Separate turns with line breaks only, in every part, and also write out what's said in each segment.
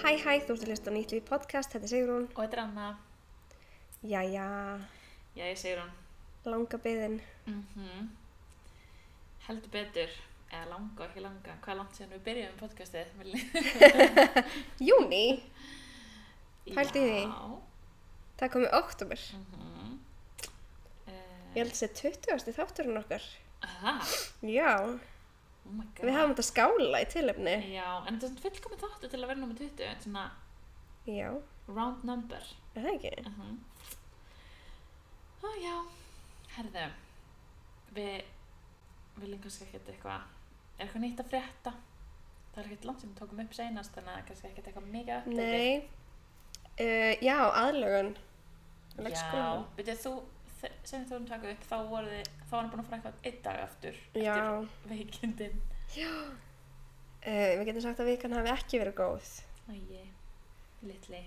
Hæ hæ, þú ert að hlusta á nýtt líf podcast, þetta er Sigrún.
Og þetta er Anna.
Jæja,
Já, ég segir hún.
langa byðin.
Mm Heldur betur. Eða langa, ekki langa. Hvað er langt síðan við byrjuðum podcastið? Milli?
Júni, Pældu í því.
Já.
það komi oktober.
Mm Eh,
Ég held að þetta sé 20. þátturinn okkar.
Það?
Já,
Oh my god.
við hafum þetta skála í tilefni.
Já, en þetta er svona fullkomin þáttu til að vera nummer 20. Þetta er svona
Já,
round number.
er það ekki?
Uh Ó já. Herðu. Við viljum kannski ekkert eitthvað, er eitthvað nýtt að frétta? Það er ekkert langt sem við tókum upp seinast, þannig að kannski ekkert eitthvað mikið að
Nei. Uh, já, aðlögun.
Já,
Leikskólanum.
veitir þú, þe- sem þú erum taka upp, þá voru þið, þá var hann búin að fara eitthvað einn dag aftur
Já,
eftir veikindin.
uh, við getum sagt að vikan hafi ekki verið góð.
Æi, litli.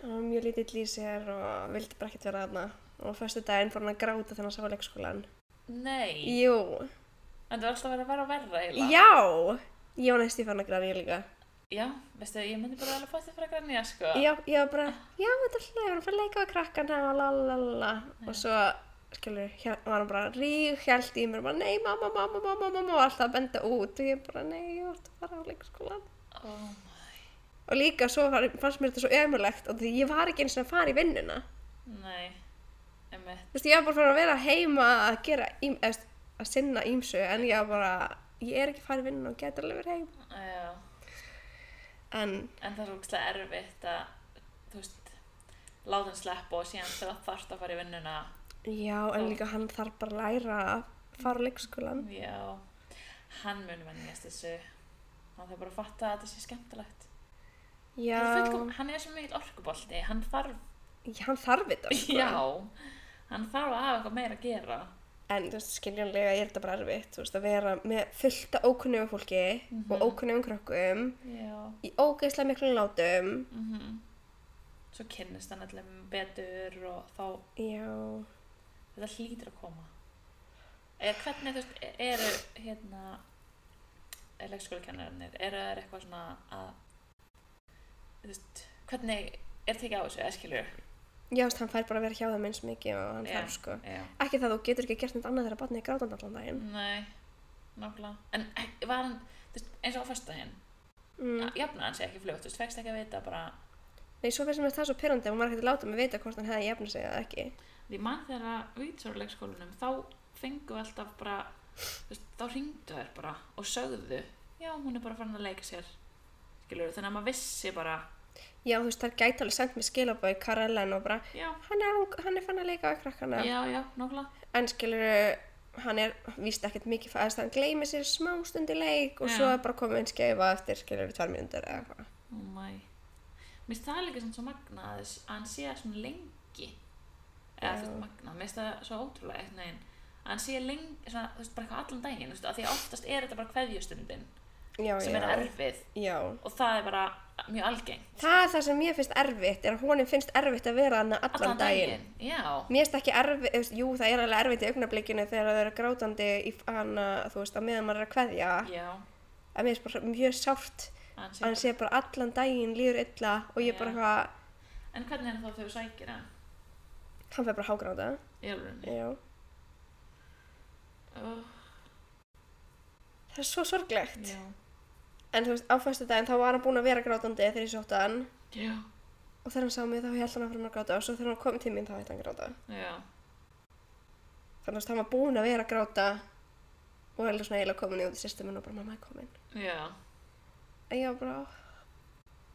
Hann var mjög lítill í sér og vildi bara ekkert vera þarna. Og fyrstu daginn fór hann að gráta þegar hann sá leikskólan.
Nei,
Jú,
en það var alltaf verið að vera verra eiginlega.
já, ég var næst í fann að græða ég líka.
Já, veistu, ég myndi bara alveg fætt þið fyrir að grænja, sko.
Já, ég var bara, já, þetta er hlæður, hann fyrir að leika við krakkana og lalalala og svo, skilur, hér, var hann bara ríg, hjælt í mér og bara, nei, mamma, mamma, mamma, mamma og alltaf að benda út og ég bara, nei, ég vart að fara á leikskólan
Oh,
og líka svo var, fannst mér þetta svo ömulegt og því ég var ekki eins og að fara í vinnuna
nei, emmitt.
þú veist, ég var bara fyrir að vera heima að gera, ím, eðst, að sinna ímsu en ég var bara, ég er ekki að fara í vinnuna og geta alveg verið heim
Já,
en,
en það er ógstlega erfitt að, þú veist, láta hann sleppa og síðan þegar það þarft að fara í vinnuna.
já, en líka hann þarf bara að læra að fara á leikskólan
Já, hann mun vennjast þessu. Hann þarf bara að fatta að þetta sé skemmtilegt.
já,
Hann er fullkom- hann er svo mikill orkubolti, hann þarf,
hann þarf þetta sko.
já, hann þarf að hafa eitthvað meira að gera.
en þú veist, skiljanlega er þetta bara erfitt þú veist, að vera með fullta ókunnum fólki og ókunnum krökkum
Já.
í ógeðslega miklu látum
Mm Svo kynnist hann allir betur og þá,
já,
þetta hlýtur að koma. Eða hvernig, þú veist, e-, eru hérna, leikskólakennarinnir, eru þeir eitthvað svona að, þú veist, hvernig er tekið á þessu, eskilur?
já, þú veist, hann fær bara að vera hjá þeim eins mikið og hann
Já.
þarf sko
Já.
ekki það þú getur ekki gert neitt annað þegar að batna í grátandi allan daginn
Nei, nákvæmlega. En ek- var hann, þú veist, eins og á föstudaginn,
mm.
mm. jafnaði hann sig ekki fljótt, þú veist, fegst ekki að vita bara,
nei, svo finnst mér það svo pyrrandi að hún var ekkert að láta mig vita hvort hann hefði jafna sig eða ekki
því mann þegar að við svo á leikskólanum, þá fengu alltaf bara, þú veist, þá ringdu þær bara og sögðu, já, hún er bara farin að leika sér, skilur, þannig að maður vissi bara,
já, þú veist, það gæti alveg sendt mér skilabói Karelen og bara,
já,
hann er, hann er fann að leika á krakkana
já, já, nákvæmlega,
en skilur hann er víst ekkert mikið fæðast hann gleymir sér smá stund í leik og
Já.
svo er bara komið einn skeifa eftir skilur tvær mínútur eða eitthvað
oh my. Mér finnst það líka sem svo magna að þess- að hann sé svona lengi, eða þú
Já.
veist, magna, mér finnst það svo ótrúlega einhvern veginn, að hann sé lengi, svona, þú veist, bara eitthvað allan daginn, þú veist, af því að oftast er þetta bara kveðjustundin,
já,
sem er
já,
erfið
já.
og það er bara mjög algengt
það er það sem mér finnst erfitt er að honum finnst erfitt að vera hann allan, daginn.
já,
mér finnst ekki erfitt, þú veist, jú það er alveg erfitt í augnablikinu þegar þau eru grátandi í hana, þú veist, á meðan maður er að kveðja
já,
en mér finnst bara mjög sárt
hann
að
sé
hann sé bara allan daginn líður illa og ég bara
Já.
eitthvað,
en hvernig er það þá þau sækir hann
hann fer bara að hágráta
í alveg
já.
oh,
það er svo sorglegt
já,
En þú veist, á fyrstu daginn þá var hann búinn að vera grátandi þegar ég sótti hann
já,
og þegar hann sá mig þá held hann að fara að gráta og svo þegar hann kom til mín þá hætti hann að gráta.
já
Þannig að þú veist, hann var búinn að vera að gráta og heldur svona eiginlega komin í út í systeminu og bara mamma er komin.
já,
En ég var bara, "Ó."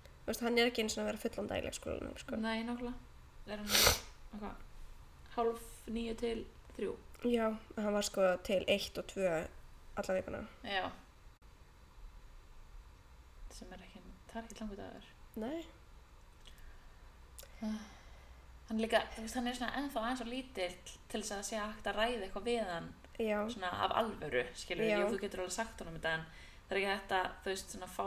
þú veist, hann er ekki eins og að vera fullan dag í leikskólanum, sko.
nei, nákvæmlega er hann okkar hálf nýju til þrjú
Já, en hann var sko til 1 og 2 alla vikuna.
já sem er ekki, það er ekki langur dagur
Nei.
hann líka, þú veist, hann er svona ennþá aðeins og lítill til þess að sé hægt að ræða eitthvað við hann
Já,
svona af alvöru, skilur
Já.
við, þú getur alveg sagt honum þetta en það er ekki hægt að, þú veist, svona fá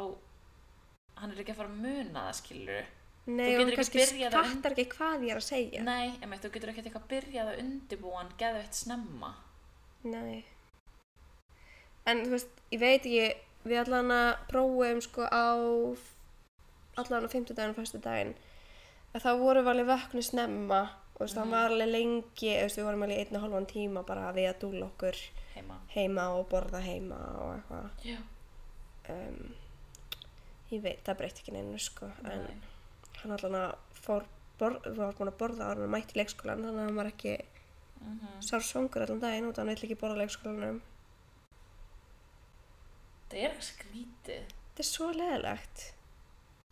hann er ekki að fara að muna það, skilur við
nei, og
Þú
hann
getur ekki
kannski
byrjað að-
skattar ekki hvað ég er að segja.
nei, emeit, þú getur ekki eitthvað að byrja það undibúan geðveitt snemma
Nei. En þú veist, ég veit ekki, við allan að prófum sko á allan á fimmtudaginn og föstudaginn að þá vorum við alveg vöknu snemma og þú veist,
Mhm.
það var alveg lengi þú veist, við vorum alveg í einn og hálfan tíma bara við að dúla okkur
heima.
heima og borða heima og eitthvað
Já.
um, ég veit, það breytti ekki neinu sko, en
Nei.
hann allan að fór bor, var búin að borða ára hann mætti í leikskólan þannig að hann var ekki
Mm
sár svongur allan daginn út af hann vill ekki borða á leikskólanum
Það er eitthvað skrítið.
þetta er svo leðilegt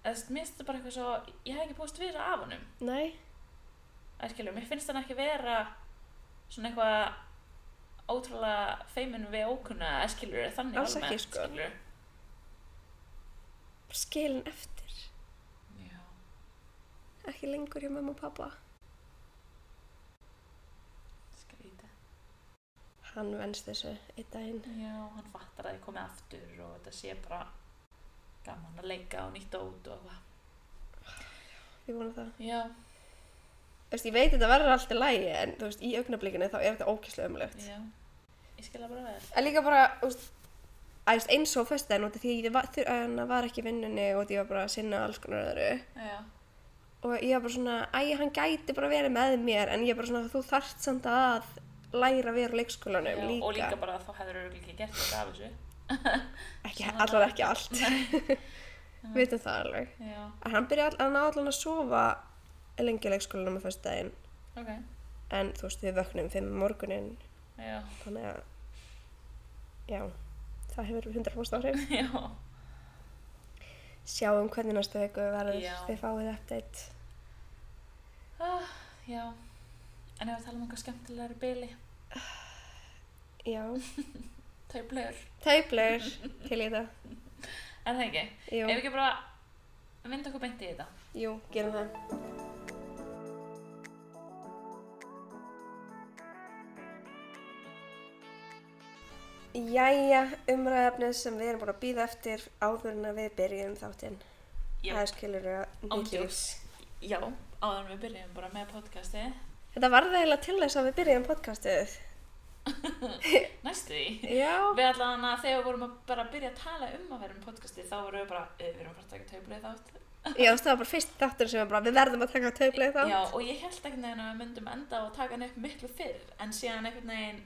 Eða, þú veist, Mér finnst það bara eitthvað svo, ég hef ekki búist við það af honum.
nei,
Það er skilur, mér finnst hann ekki vera svona eitthvað ótrúlega feiminn við ókunna, eða skilur, eða þannig
Alls ekki, sko.
skilur.
skilin eftir
Já.
ekki lengur hjá mamma og pappa
Skrítið.
hann venst þessu einn daginn
Já, hann fattar að ég komið aftur og þetta sé bara gaman að leika og nýtt út og eitthvað.
ég vona það
Já.
Þú veist, ég veit þetta verður alltaf lægi en þú veist, í augnablikinu þá er þetta ókýrslega umlegt
Já. Ég skil það bara vel.
En líka bara, þú veist, að, þú veist, eins og föstudaginn út af því ég var, þur, hana, var ekki í vinnunni og ég var bara að sinna alls konar öðru
Já.
og ég var bara svona, æ, hann gæti bara verið með mér en ég bara svona, þú þarft samt að læra að vera á leikskólanum
Já,
líka.
og líka bara að þá hefur örugglega ekki gert þetta af þessu.
ekki,
svona
allan
bara-
ekki allt, við veitum það alveg.
Já,
En hann byrjaði all- að ná allan að sofa lengi í leikskólanum á föstudaginn
ok.
en þú veist, við vöknum fimm um morguninn,
Já,
þannig að, já, það hefur 100% áhrif.
já.
sjáum hvernig næstu viku verður
Já.
þið fáið update
Ah, já. En ef við tala um eitthvað skemmtilegri byli,
já,
taublur.
tæplur til í þetta
Er það ekki? Ef við
jú,
ekki bara mynda okkur beint í þetta.
jú, gerum það Jæja, umræðafnið sem við erum búin að býða eftir áður en að við byrjum þáttinn.
Já.
Það er skilur að nýtt líf.
Ándjóks. Já, áður en við byrjum bara með podcasti.
Þetta varði eiginlega til þess að við byrjum podcastið.
Næstu því.
Já.
Við allan að þegar við vorum að bara byrja að tala um að vera um podcasti, þá vorum við bara, eh, við erum bara að taka taublið þátt.
Já, það var bara fyrst þáttur sem við bara, við verðum að taka tauplið þá.
Já, og ég held einhvern veginn að við myndum enda og taka hann upp miklu fyrr, en síðan einhvern veginn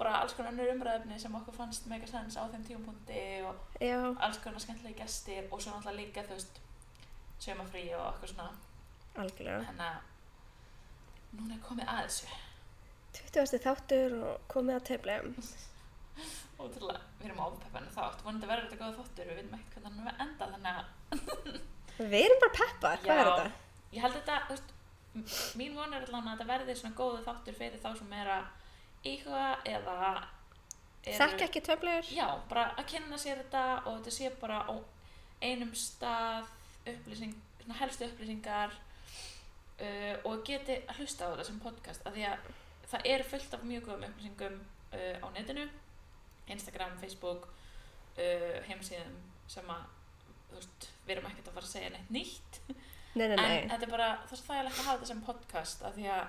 bara alls konar önnur umræðefni sem okkur fannst mega sens á þeim tímapunkti og
Já.
alls konar skemmtilegi gestir og svo náttúrulega líka, þú veist, sömafrí og okkur svona,
Algjörlega.
þannig að núna er komið að þessu.
20. þáttur og komið að tefleim.
Ótrúlega, við erum ofpeppinu þátt, vonandi verður þetta góða þáttur, við veitum ekkert hvernig hann er enda, þannig að
Við erum bara peppar, hvað er
Já.
þetta?
ég held þetta, þú veist, m- mín von er allan að þetta verði svona góða þáttur fyrir þá sem er að íhuga eða eru-
Þekk ekki töflegur?
Já, bara að kynna sér þetta og þetta sé bara á einum stað upplýsing, svona helstu upplýsingar uh, og geti hlusta á þetta sem podcast af því að það er fullt af mjög góðum upplýsingum uh, á netinu Instagram, Facebook uh, heimsíðum sem að þú veist, við erum ekkert að fara að segja neitt nýtt
Nei, nei,
en
nei.
þetta er bara, það er þægilegt að hafa þetta sem podcast af því að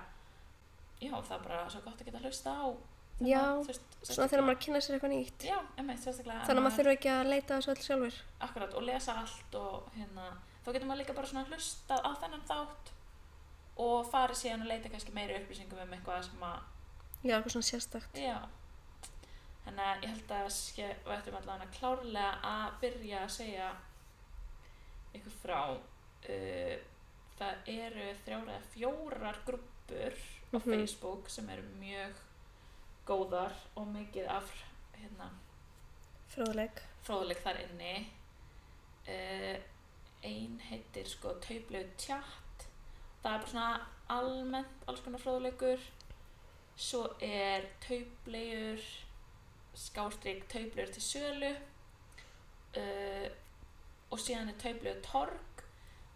já, það er bara svo gott að geta hlusta á þegar
Já,
maður, þú veist,
Svona þegar maður kynna sér eitthvað nýtt.
Já, emmi, sérstaklega
Þannig að maður þurfa ekki að leita þessu öll sjálfur.
Akkurat, og lesa allt og hérna Þá getur maður líka bara svona hlustað á þennan þátt Og farið síðan að leita kannski meiri upplýsingum um eitthvað sem að
Já, eitthvað svona sérstakt.
Já Þannig að ég held að ske, við ættum allavega klárlega að byrja að segja ykkur frá uh, Það eru þrjár eða fjórar grúppur á
Mhm.
Facebook sem eru mjög góðar og mikið af hérna,
Fróðleg.
fróðleik þar inni uh, ein heitir sko tauplu tjátt það er bara svona almennt alls konar fróðleikur svo er tauplegur skástrík tauplegur til sölu uh, og síðan er tauplegur torg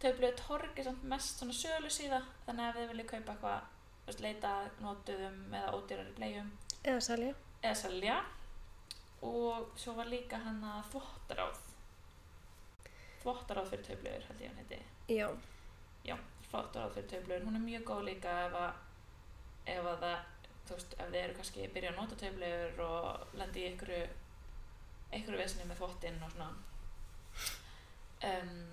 tauplegur torg er samt mest svona sölu síða þannig að við viljum kaupa eitthvað þú veist, leita að notuðum eða ódýrari bleiðum
Eða salja.
eða selja og svo var líka hann að þvottaráð þvottaráð fyrir töflur held ég hann heiti
Já.
já, þvottaráð fyrir töflur, hún er mjög góð líka ef að, ef að það þú veist, ef þið eru kannski að byrja að nota töflur og lendi í einhverju einhverju vesinni með þvottinn og svona um,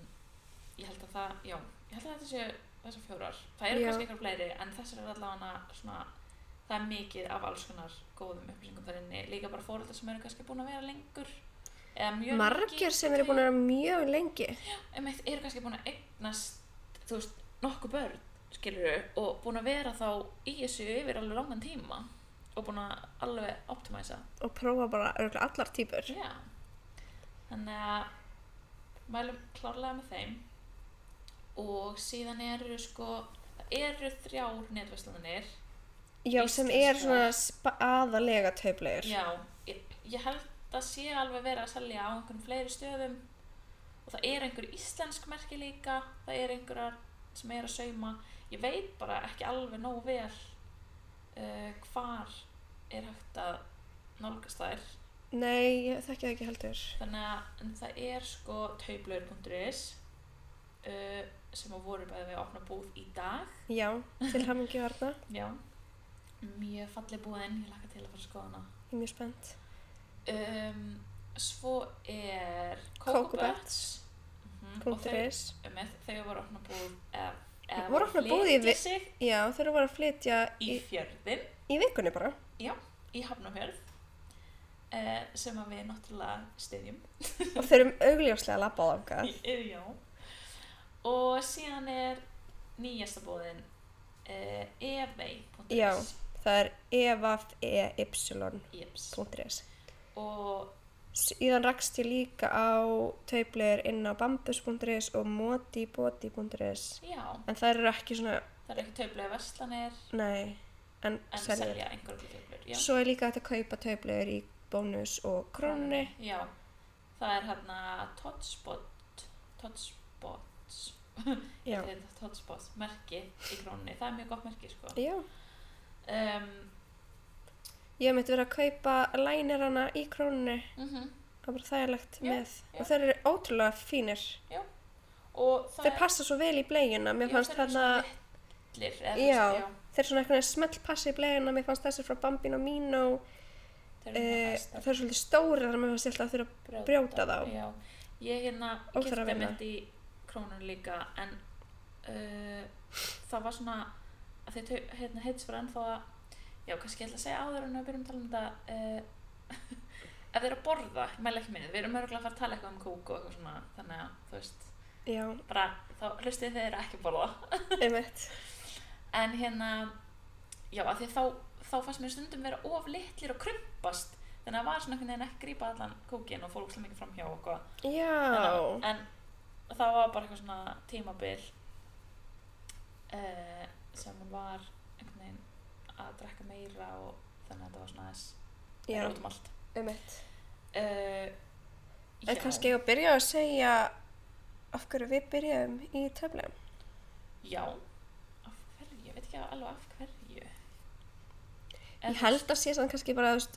ég held að það, já, ég held að þetta séu þessar fjórar. Það eru
Já.
kannski eitthvað fleiri, en þessar eru allavega svona, það er mikið af alls konar góðum upplýsingum þar inni. Líka bara fóreldar sem eru kannski búin að vera lengur. Eða mjög
Margir sem eru búin að vera mjög lengi.
Einmitt, eru kannski búin að eignast, þú veist, nokkuð börn, skilur og búin að vera þá í þessu yfir alveg langan tíma og búin að alveg optimæsa.
og prófa bara örgulega allar týpur
Já. Þannig að mælum klárlega með þeim og síðan eru sko það eru þrjár netverslunir
já, sem er
Íslenska.
svona spa- aðalega tauplegur
Já, ég, ég held að sé alveg verið að selja á einhvern fleiri stöðum og það er einhver íslensk merki líka það er einhverjar sem er að sauma ég veit bara ekki alveg nógu vel uh, hvar er hægt að nálgast þær
nei, ég þekki það ekki heldur
Þannig að en það er sko taublaur.is uh, sem að voru bæði við að opna búð í dag.
já, til hamingju harna,
Já. Mjög falleg búðin, ég laka til að fara að skoða hana.
ég er mjög spennt
Um, svo er
Cocoa
Cocobuts. Mhm, og
punktur
þau-
is
um, eð- Þau voru að opna búð eða eða
Voru að opna búð í
flytja
vi-
sig
já, þeir eru bara að flytja
í
í,
fjörðin
í vikunni bara
í Hafnafjörð uh, sem að við náttúrulega styðjum.
og þeir eru augljóslega að labba á þangað
Eh, Já. Og síðan er nýjasta bóðin uh, evey.is
Já. það er evafey.is
Jeps. Og
síðan rakst ég líka á tauplegur inn á bambus.is og modibodi.is
já,
en það eru ekki svona,
það eru ekki töflega verslanir
nei en,
en
selja.
selja einhverjum töflur. Já.
Svo er líka hægt að kaupa töflur í bónus og krónni.
Já. Það er hérna Totspot Totspot
Já.
Totspot merki í krónni. Það er mjög gott merki sko.
Já.
Um,
Ég hef mitt verið að kaupa lænerana í krónni.
mm
Það er bara þægilegt
Já,
með.
já.
Og þeir eru ótrúlega fínir.
Og það
Þeir passa svo vel í blegina. Mér fannst þarna,
Litlir, eða,
Já.
já. já.
þeir svona einhvern veginn smelt passa í blegina. Mér fannst þessi frá Bambino Mino.
Þeir eru
Eh,
svona
þeir eru svolítið stórir þannig að mér fannst ég alltaf að þurfa
brjóta,
brjóta þá.
já. ég hérna
Óþarfa
kipti
vinna.
mitt í krónun líka en uh, það var svona að þið tau- hérna, heits var ennþá að já, kannski ég ætla að segja áður en við byrjum að tala um þetta uh, ef þið eru að borða ég mæla ekki minni, við erum örgulega að fara að tala eitthvað um kúk og eitthvað svona, þannig að þú veist
já,
bara, þá hlustið þið eru ekki að borða
einmitt.
en hérna já, af því þá, þá fannst mér stundum vera of litlir og krumpast þannig að það var svona einhvern veginn ekki grípa allan kókin og fór úkslega mikið framhjá og eitthvað
Já,
en, en það var bara eitthvað svona tímabil uh, sem hún var einhvern veginn að drekka meira og þannig að þetta var svona þess
já,
út um allt
einmitt.
uh,
En kannski ég að byrja að segja af hverju við byrjum í töflum.
já, af hverju, ég veit ekki alveg af hverju
Ég held að sé samt kannski bara, þú veist,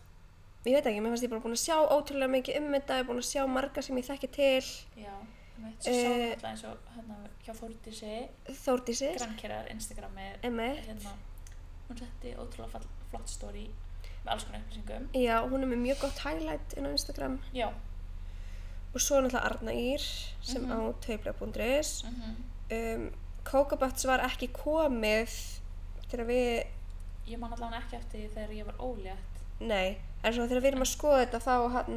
ég veit ekki, mér fannst ég bara búin að sjá ótrúlega mikið um þetta, ég er búin að sjá marga sem ég þekki til,
já, ég veit, svo sá
Eh,
alltaf eins og hérna hjá Fórdísi,
Þórdísi,
grannkerar Instagramið,
Emme,
hérna hún setti ótrúlega fall, flott story með alls konar upplýsingum
já, hún er með mjög gott highlight inn á Instagram
já,
og svo er náttúrulega Arna Ír sem
Mhm.
á taubla.is.
mhm
Um, Kókabats var ekki komið þegar við,
Ég man allavega ekki eftir því þegar ég var ólétt.
nei, en svona þegar við erum að skoða þetta þá hann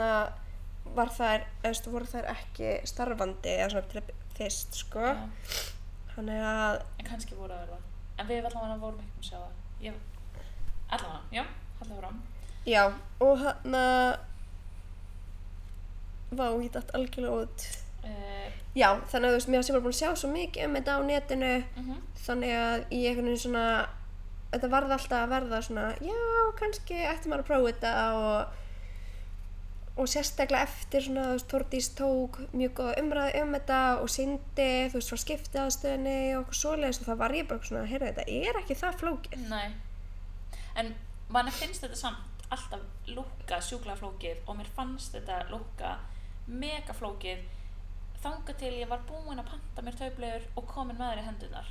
var þær, eðst, voru þær ekki starfandi eða svona til fyrst, sko.
Já,
Þannig að
En kannski voru það verða. En við allavega vorum ekki um að sjá það. Ég, allavega, já, allavega fram.
Já, og hann að Vá, ég dætt algjörlega út
Uh,
Já, þannig að þú veist, mér sem var búin að sjá svo mikið um þetta á netinu
uh
þannig að ég einhvern veginn svona þetta varð alltaf að verða svona já, kannski ætti maður að prófa þetta og, og sérstaklega eftir svona, þú veist, Tordís tók mjög góða umræði um þetta og syndi, þú veist, frá skiptiðastöðinni og okkur svoleiðis og það var ég bara svona heyrðu, þetta er ekki það flókið
Nei. En mann finnst þetta samt alltaf lúkka sjúkla flókið og mér fannst þetta lúkka mega flókið þanga til ég var búin að panta mér taublegur og komin með þær í hendunar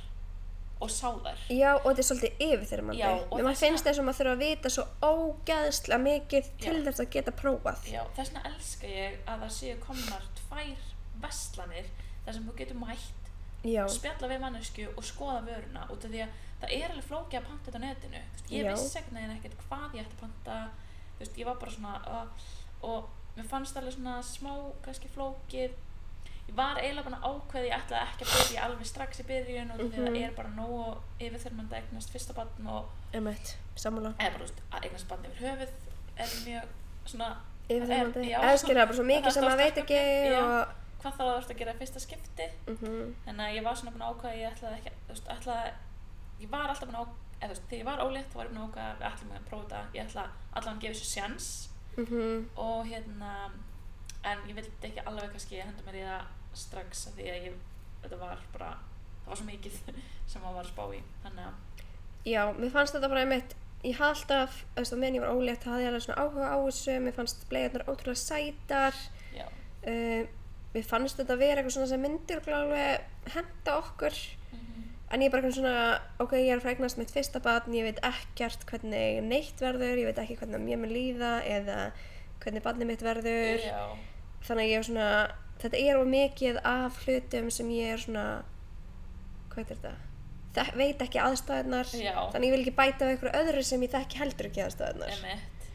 og sá þær.
Já, og þetta er svolítið yfirþyrmandi.
Já, og
Mér
þess vegna-
finnst þess að maður þurfa að vita svo ógæðslega mikið til
Já.
þess að geta prófað.
Já, þess vegna elska ég að það séu komnar tvær vestlanir þar sem þú getur mætt
já,
spjalla við mannesku og skoða vöruna út af því að það er alveg flókið að panta þetta á netinu Þú veist, ég
Já.
vissi ekkert neginn ekkert hvað ég ætti að panta Þú veist, ég var bara svona uh, og mér fannst alveg svona smá kannski flókið ég var eiginlega bara ákveði ég ætlaði ekki að byrja alveg strax í byrjun út af því að
Mhm.
það er bara nógu yfirþyrmandi að eignast fyrsta barn og
emitt, sammála
eða bara þú veist, að eignast barn yfir höfuð er mjög svona
yfir
Það er-
þeimandi,
já.
eða skilja bara svo
Það
mikið
er
sem maður
stórt
veit ekki
verkefni, já.
og
hvað þá þú ert að gera í fyrsta skipti
mhm,
þannig að ég var svona búin að ákvæða ég ætlaði ekki, þú veist, ætlaði ég var alltaf búin að ákvæða, eða þú veist, þegar ég var ólétt þá var ég búin að ákvæða að við ætlum að prófa þetta ég ætla allavega að gefa þessu sjans
mhm,
og hérna en ég vildi ekki alveg kannski henda mér í það strax af því að ég, þetta var bara það var svo mikið sem maður var að spá í þannig að,
já, mér fannst þetta bara emitt ég hafði alltaf, þú veist, og meðan ég var ólétt hafði ég alveg svona áhuga á þessu, mér fannst bleiðarnar ótrúlega sætar
já,
uh, mér fannst þetta vera eitthvað svona sem myndir alveg henda okkur en ég er bara eitthvað svona, ok, ég er að fregnast mitt fyrsta barn, ég veit ekkert hvernig neitt verður, ég veit ekki hvernig mér mun líða eða hvernig barnið mitt verður
já,
þannig að ég er svona, þetta er of mikið af hlutum sem ég er svona hvað er þetta? Þek, veit ekki aðstæðunar
Já.
þannig að ég vil ekki bæta við einhverju öðru sem ég þekki heldur ekki aðstæðunar
emitt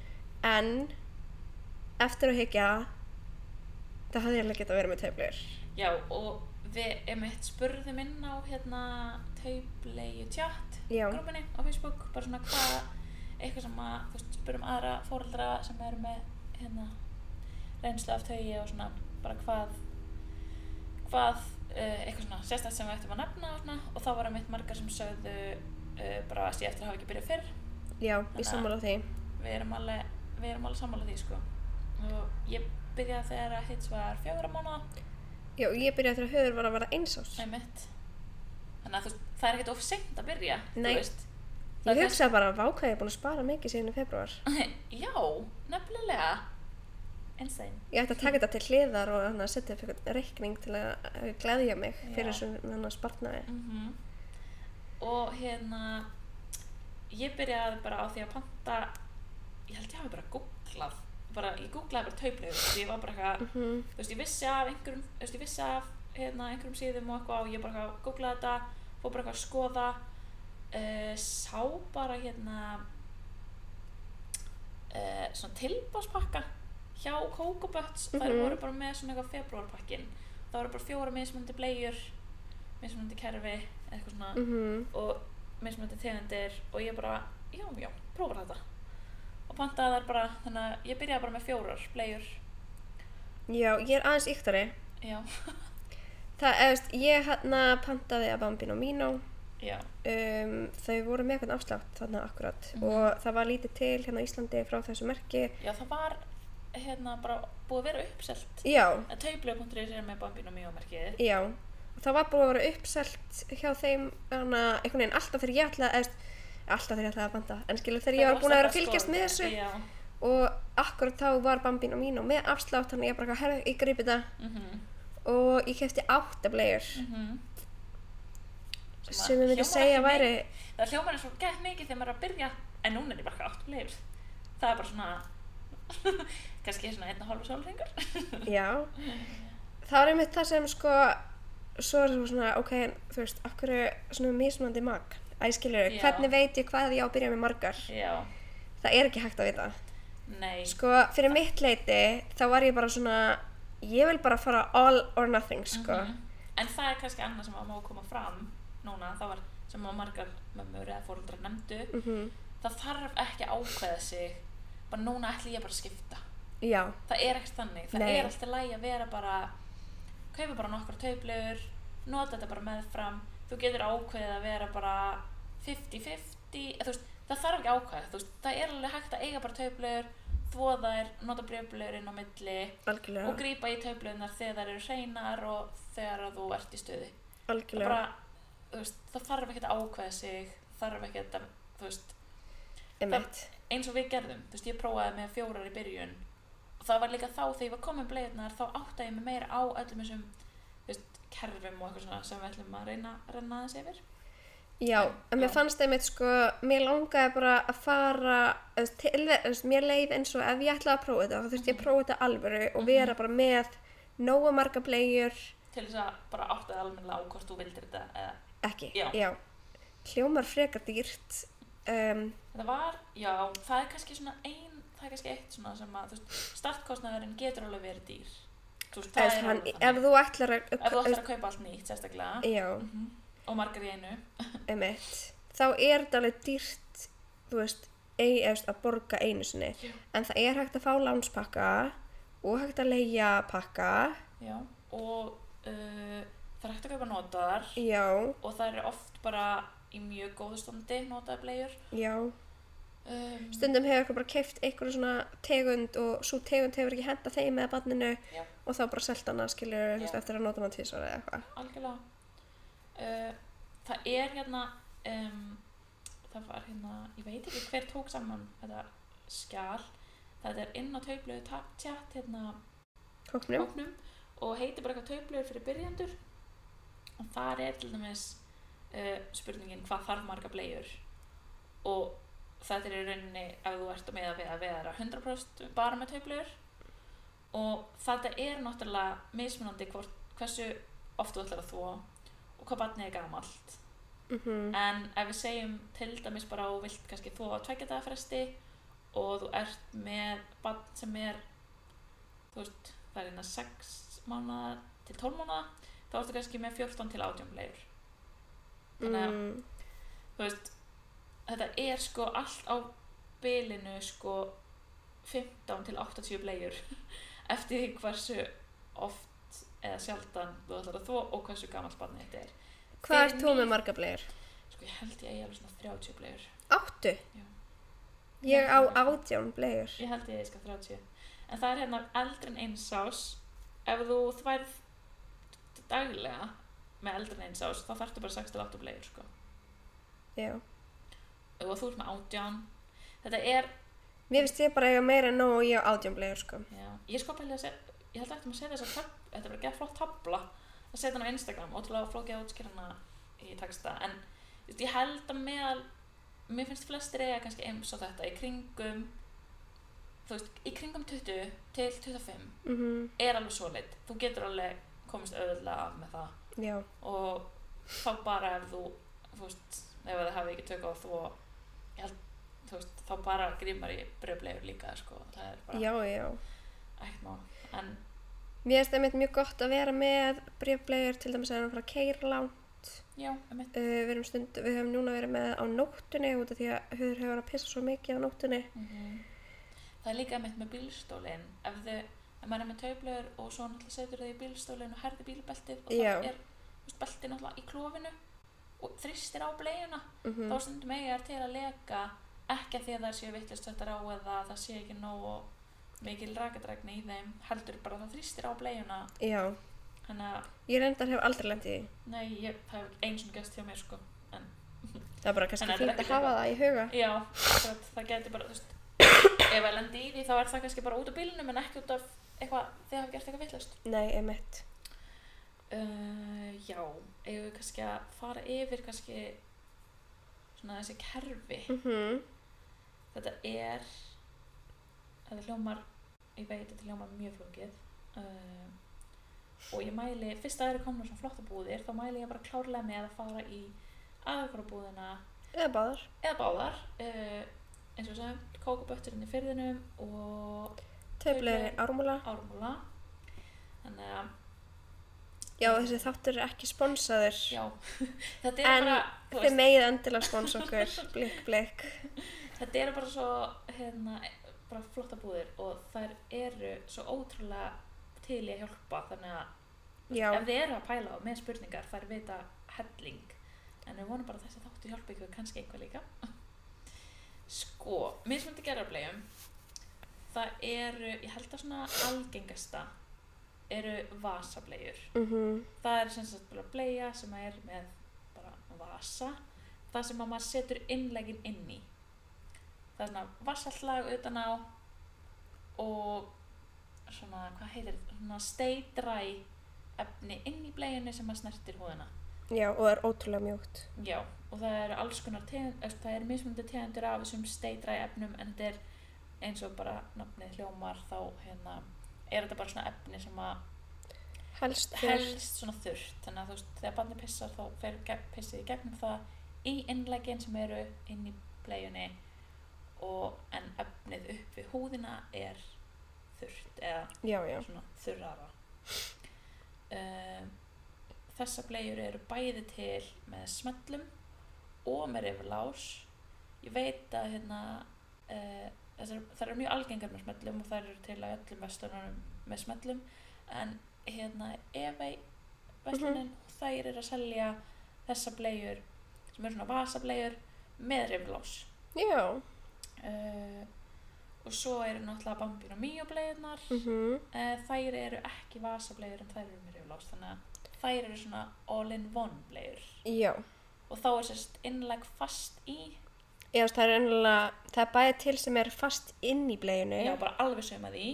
en eftir að hyggja það hafði ég alveg getað verið með töflur
já, og við emitt spurðum inn á hérna tauplegu tjátt
já,
grúpunni á Facebook bara svona hvað eitthvað sem að, þú veist, spyrum aðra fóreldra sem eru með hérna reynslu af taugi og svona bara hvað hvað, uh, eitthvað svona sérstætt sem við ættum að nefna og svona og þá voru mitt margar sem sögðu uh, bara að sé eftir að hafa ekki byrjað fyrr
já,
Þannig
ég
að-
sammála því
við erum alveg, við erum alveg sammála því sko og ég byrjaði þegar að hitt var fjögur mánuða
já, ég byrjaði þegar höfur var að vera einsás
með mitt þannig að þú veist, það er ekkert of seint að byrja
Nei.
þú veist Það
Ég
er
hugsaði bara, vákvæði, ég er búin að spara mikið síðan í februar.
Já, nefnilega Insane
Ég ætti að taka þetta til hliðar og hann að setja upp eitthvað reikning til að eh, gleðja mig fyrir
Já.
þessum hann að spartnaði.
Mhm. Og hérna Ég byrjaði bara á því að panta Ég held ég hafi bara googlað bara, Ég googlaði bara tauplegur Því ég var bara eitthvað
Mhm.
Þú veist, ég vissi af einhverjum Þú veist, ég vissi af hérna, einhverjum síðum og eitthvað Og ég bara eitthvað googlaði þetta Fór bara eitthvað að skoða uh, Sá bara hérna uh, Svona tilbáspakka Hjá Coco Butts mm
Mhm.
Þær voru bara með svona eitthvað februarpakkin Það voru bara fjóra mismunandi blegjur Mismunandi kerfi Eitthvað svona
Mhm.
og mismunandi tegundir og ég bara, já, já, prófar þetta og pantaði þær bara, þannig að ég byrjaði bara með fjórar bleiur,
Já, ég er aðeins yktari.
já,
Það, eðast, ég hann að pantaði að Bambino Mino.
já
Um, þau voru með eitthvað afslátt þarna akkurat
Mhm.
og það var lítið til hérna á Íslandi frá þessu merki.
já, það var, hérna, bara búið að vera uppselt
Já,
taublu.is er með bambinu mjög merkið
já. Og það var búin að vera uppselt hjá þeim hana, einhvern veginn alltaf þegar ég ætlaði, eðast, alltaf þegar ég ætlaði að panta, en skilur þegar ég var búin að vera að fylgjast með þessu.
já,
og akkurat þá var bambín og mín og með afslátt þannig ég bara eitthvað, herðu, ég grípi þetta
mhm, mhm
og ég kefti átta blegjur
Sem að
sem ég myndi
hljómar
segja
ekki
væri
mikið- það hljómar eins og gett mikið þegar maður er að byrja en núna er ég bara átt bleiur það er bara svona kannski svona einn og hálfu sólringur
já, það var einmitt það sem sko svo er það svona, ok, en þú veist akkur er svona mismunandi mag æ, skilur,
Já.
hvernig veit ég hvað ég á að byrja með margar
já,
það er ekki hægt að vita
nei
sko, fyrir mitt leiti þá var ég bara svona ég vil bara fara all or nothing sko
Mhm. En það er kannski annað sem að má koma fram núna, það var sem að margar mömmur eða fóruldrar nefndu
Mhm.
það þarf ekki að ákveða sig bara núna ætli ég bara að skipta
já,
það er ekkert þannig, það
Nei.
er alltaf lægi að vera bara kaupa bara nokkar taublegur nota þetta bara meðfram þú getur ákveðið að vera bara 50-50, eða þú veist það þarf ekki að ákveða, þú veist, það er alveg hægt að eiga bara taublegur, þvo þær nota breflegur inn á milli
algjörlega
og grípa í taublunar þegar þær eru hreinar og þegar að þú ert í stuði það,
algjörlega,
bara, þú veist, það þarf ekkert að ákveða sig þarf ekkert að þú veist,
einmitt
eins og við gerðum þú veist, ég prófaði með fjórar í byrjun og það var líka þá þegar ég var komin bleiðnar þá áttaði ég mig meira á öllum þessum þú veist, kerfum og eitthvað svona sem við ætlum að reyna, reyna aðeins yfir
Já, en mér
Já.
fannst einmitt sko, mér langaði bara að fara, þú veist, til, þú veist, mér leið eins og
Mhm.
ef ég ætlaði að prófa þetta, þá þurfti ég að prófa þetta alvöru og vera bara með nógu marga blegjur
til þess að bara átta þig almennilega á hvort þú vildir þetta eða
ekki,
Já.
hljómar frekar dýrt um,
þetta var, já, það er kannski svona ein, það er kannski eitt svona sem að þú veist, startkostnaðurinn getur alveg verið dýr þú veist, það
ef,
er
hann,
alveg
ef
þannig
þú ætlar að
ef þú ætlar að kaupa allt nýtt sérstaklega
já,
Mhm. og margar í einu
emitt þá er þetta alveg dýrt þú veist, ei, eftir að borga einu sinni
Já.
en það er hægt að fá lánspakka og hægt að leigja pakka
já, og uh, það er hægt að kaupa notaðar
já,
og það eru oft bara í mjög góðu standi notaðar blegjur
já
um,
stundum hefur eitthvað bara keift einhverju svona tegund og svo tegund hefur ekki henda þeim eða barninu
Já.
og þá bara selt hana skilur
Já.
eftir að nota hana tísvara eða eitthvað
algjörlega uh, það er hérna um, það var hérna ég veit ekki hver tók saman þetta skjal þetta er inn á taublu tjátt hérna
hóknum,
hóknum og heitir bara eitthvað taubluður fyrir byrjandur og þar er til dæmis uh, spurningin hvað þarf marga bleiur og þetta er í rauninni ef þú ert að meða við að vera 100% bara með taubluður og þetta er náttúrulega mismunandi hvort, hversu oft þú ætlar að þvo og hvað barnið er gamalt
mm
en ef við segjum til dæmis bara og vilt kannski þú á tveggja daga fresti og þú ert með bann sem er þú veist, það er innan 6 mánuða til 12 mánuða þá ertu kannski með 14 til 18 leir þannig að-
mm,
þú veist, þetta er sko allt á bilinu sko 15 til 80 bleiur eftir því hversu oft eða sjaldan þú ætlar að þvo og hversu gamalt barnið þetta er
hvað
fyrir
er þú með
mér-
marga blegur?
sko ég held ég eigi alveg svona 30 bleiur
Áttu? Ég á átján blegur.
Ég held ég skal 30 En það er hérna eldri en eins ás Ef þú þværð daglega með eldri en eins ás þá þarftu bara 6-8 bleiður sko.
Já.
og þú ert með 18 Þetta er,
Mér finnst ég bara eiga meira en nóg og ég á átján blegur sko.
já, ég sko pæli að setja ég held eftir að setja þess að tab, þetta var að gera flott tabla að setja hana á Instagram og til að flókja útskýrana í texta en þú veist, ég held að meðal mér finnst flestir eiga kannski eins og þetta í kringum þú veist, í kringum 20 til 25
Mm
er alveg svo leitt þú getur alveg komist auðvitað af með það
Já.
og þá bara ef þú þú veist, ef það hafi ekki tök á þú ég held, þú veist, þá bara grímar í bröflegur líka sko. það er bara
Já, já.
ekkert mál en
Mér finnst það mjög gott að vera með brefblegur til dæmis að hann fara að keira lán.
já, um mitt
Uh, við, erum stund, við höfum núna verið með á nóttunni út af því að höfður hefur að pissa svo mikið á nóttunni.
það er líka um mitt með bílstólin ef þau, ef maður er með taublegur og svo náttúrulega setur þau í bílstólin og herði bílbeltið og
Já.
það er þú veist, beltið náttúrulega í klófinu og þristir á bleiuna
Mm
þá stundum eiga þær til að leka ekki að því að það séu vittlust þetta rá eða það sé ekki nógu mikil rakadrækni í þeim heldur bara að það þrýstir á bleiuna
Já.
þannig að,
Ég reyndar hef aldrei lendið í því.
nei, ég, það hef ekki eins og gæst hjá mér sko en,
Það er bara kannski
En þetta er
fínt að
ekki
hafa
gott.
það í huga.
já, það, það geti bara, þú veist ef að lendi í því þá er það kannski bara út af bílnum en ekki út af eitthvað, þið hafa gert eitthvað vittlust
Nei, emitt.
uh, já, eigum við kannski að fara yfir kannski svona þessi kerfi
Mm
þetta er þetta hljómar ég veit þetta hljómar mjög flókið uh, og ég mæli fyrst að það eru komna svona flotta búðir þá mæli ég bara klárlega með að fara í aðeins búðina
Eða báðar.
eða báðar uh, eins og sem kókabötturinn í fyrðinum og
Töflegur í ármúla.
ármúla þannig að
Já, þessi þáttur er ekki sponsaður.
já þetta er
En
bara þú
Þið megið endilega spons okkur, blikk, blikk.
þetta eru bara svo hérna, bara flotta búðir og þær eru svo ótrúlega til í að hjálpa þannig að
Já,
ef þið eru að pæla á með spurningar þær vita helling en við vonum bara að þessi þáttu hjálpa ykkur kannski einhver líka sko, mismöndi gerðarblegjum það eru, ég held að svona algengasta eru vasablegjur
mhm,
það er sem sagt bara bleja sem er með bara vasa það sem að maður setur innlegin inn í það er svona vasallag utan á og svona, hvað heitir þetta? svona steidræ efni inn í bleginu sem að snertir húðina
já, og það er ótrúlega mjúkt.
já, og það eru alls konar tegund eh, það eru mismunandi tegundur af þessum steidræ efnum en þetta er eins og bara nafnið hljómar þá hérna er þetta bara svona efni sem að
helst þurr.
helst svona þurrt þannig að þú veist, þegar barni pissar þá fer ge- pissið í gegnum það í innlegin sem eru inn í bleiunni og en efnið upp við húðina er þurrt eða
Já, já.
svona þurrara um, þessar bleiur eru bæði til með smellum og með riflás ég veit að hérna uh, þessar, þær eru mjög algengar með smellum og þær eru til að öllum vestlunum með smellum en hérna ef vestlunin þær eru að selja þessar bleiur sem eru svona vasableiur með riflás
Já.
uh, og svo eru náttúrulega bambín og mýjubleiðnar
Mm
Eh, þær eru ekki vasablegur en þær eru mér yfirlás þannig að þær eru svona all-in-one blegur
Já.
og þá er sérst innleg fast í
Já, þú veist, það er ennilega, það er bæði til sem er fast inn í bleiunni
já, bara alveg saumað í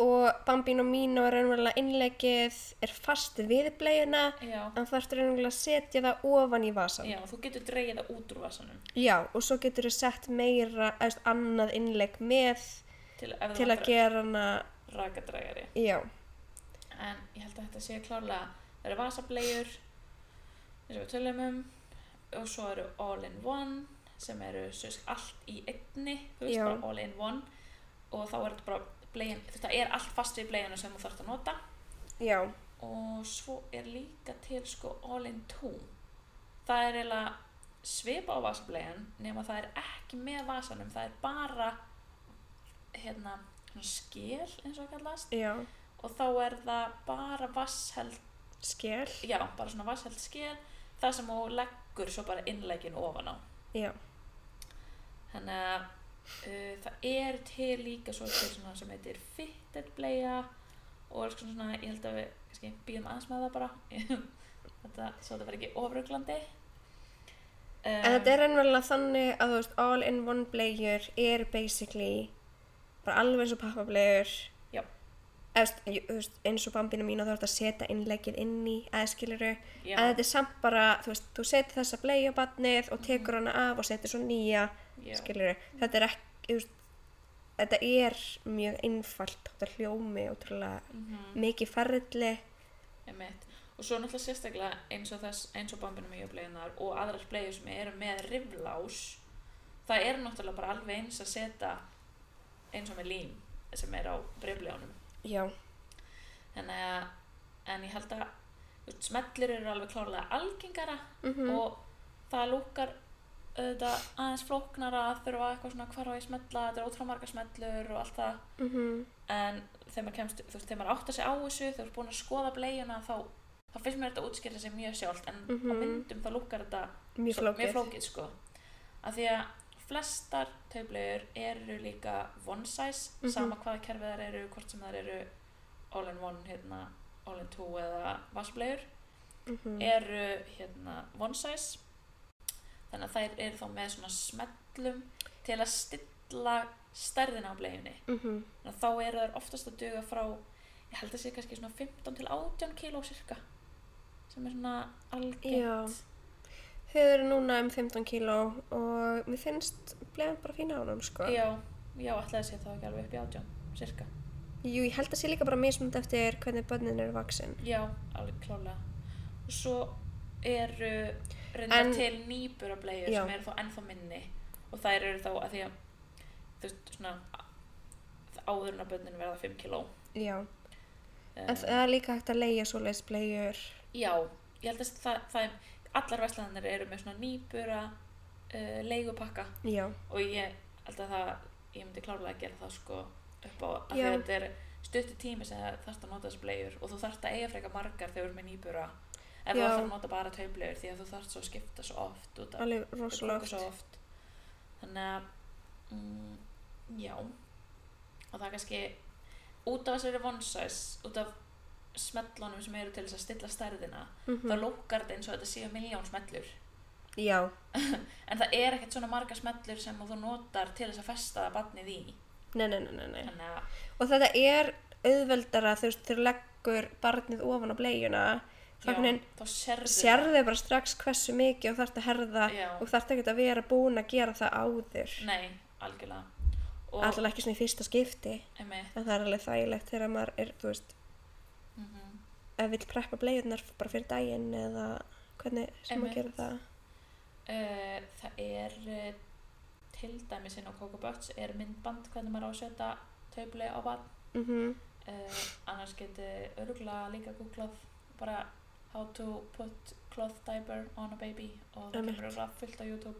og bambín og mín og ennilega innlegið er fast við bleiuna
já,
en það ertur ennilega að setja það ofan í vasan.
já þú getur dreigið það út úr vasanum
Já, og svo getur þú sett meira, eða þú veist, annað innleg með
til, ef
til að gera hana,
gera rakadrægari
já,
en ég held að þetta sé klárlega það eru vasablegur eins og við tölum um og svo eru all-in-one sem eru sérst allt í einni þú veist
Já.
bara all-in-one og þá er þetta bara blegin, þetta er allt fast við bleginu sem þú þarft að nota
já,
og svo er líka til sko all in two það er eiginlega svipa á vasablegan nema það er ekki með vasanum það er bara hérna svona skél eins og það kallast
já,
og þá er það bara vassheld
skel,
já, bara svona vassheld skél það sem þú leggur svo bara innlegin ofan á
já,
þannig að uh, það er til líka svo til svona sem heitir fitted playa og alls konar svona, ég held að við kannski býðum aðeins með það bara þetta, svo þetta verður ekki ofruglandi um,
en þetta er ennilega þannig að þú veist, all in one bleiur er basically bara alveg eins og pappableiur,
já,
eða þú veist, þú veist, eins og bambina mína þá ertu að setja innlegið inn í aðskiliru,
já,
en þetta er samt bara, þú veist, þú setur þessa bleiu á barnið og tekur hana af og setur svo nýja,
já,
skilur þetta er ekki, þú veist, þetta er mjög einfalt, þetta er hljómi ótrúlega
mhm,
mikið ferðli
einmitt og svo náttúrulega sérstaklega eins og þess eins og bambinu mjög bleiðunar og aðrar bleiður sem eru með riflás það er náttúrulega bara alveg eins að setja eins og með lím sem er á brefleganum
já,
þannig að, en ég held að þú veist, smellir eru alveg klárlega algengara
mm
og það lúkar auðvitað aðeins flóknara að þurfa eitthvað svona hvar á ég að smetla, þetta er ótrúlega margar smellur og allt það,
Mhm.
en þegar maður kemst, þú veist, þegar maður áttar sig á þessu, þegar maður er búin að skoða bleiuna þá, þá finnst mér þetta útskýra sig mjög sjálft, en á
Mhm.
myndum þá lúkar þetta
mjög
svo- mjög
flókið
flókið sko. að því að flestar taublegur eru líka one size
Mhm.
sama hvaða kerfið þar eru hvort sem þar eru all in one hérna, all in two eða vassblegur
Mhm.
eru hérna one size þannig að þær eru þá með svona smellum til að stilla stærðina á blegjunni
Mhm.
þannig að þá eru þær oftast að duga frá ég held að sé kannski svona 15 til 18 kíló cirka sem er svona
Já.
algengt
þau eru núna um 15 kíló og mér finnst blegan bara fína á honum sko
Já, já, ætlaði að sé það ekki alveg upp í átján, cirka.
jú, ég held að sé líka bara mismund eftir hvernig bönnin eru vaksin
Já, alveg klálega. Og svo eru reyndar
En-
til nýburablegjur
Já.
sem eru þá ennþá minni og þær eru þá að því að þú veist, svona a- áður en að börnin verða 5 kíló.
já,
Um,
en það er líka hægt að leigja svoleiðis blegjur
já, ég held að það, það er, allar verslanir eru með svona nýbura uh, leigupakka
já,
og ég held að það, ég myndi klárlega að gera það sko upp á að því
Já.
að þetta er stuttu tími sem það þarft að nota þessu bleiur og þú þarft að eiga frekar margar þegar þú ert með nýbura en þú
Já.
þarft að nota bara taublegur því að þú þarft svo að skipta svo oft út af
alveg
þau brúka
rosalegt
svo oft þannig að mm, já og það er kannski út af þessari one size út af smellunum sem eru til þess að stilla stærðina þá
Mhm.
lúkar þetta eins og þetta séu miljón smellur
já,
en það er ekkert svona margar smellur sem þú notar til þess að festa það barnið í
nei, nei, nei, nei, nei.
þannig að
Og þetta er auðveldara þú veist, þegar þú leggur barnið ofan á blegjuna,
já,
þannig
þá sérðu
sérðu bara strax hversu mikið og þarf að herða
Já.
og þarf ekkert að vera búin að gera það áður.
það. nei, algjörlega og
Alltaf ekki svona í fyrsta skipti,
einmitt
en það er alveg þægilegt þegar maður er, þú veist,
mhm,
ef vill preppa bleiðunar bara fyrir daginn eða hvernig sem
Einmitt.
að gera það
Eh, það er eh, til dæmis inn á Coco Butts er myndband hvernig maður á að setja taubli á bann
mm
uh, annars geti örgulega líka googlað bara how to put cloth diaper on a baby og það
Einmitt.
kemur örgulega fullt á YouTube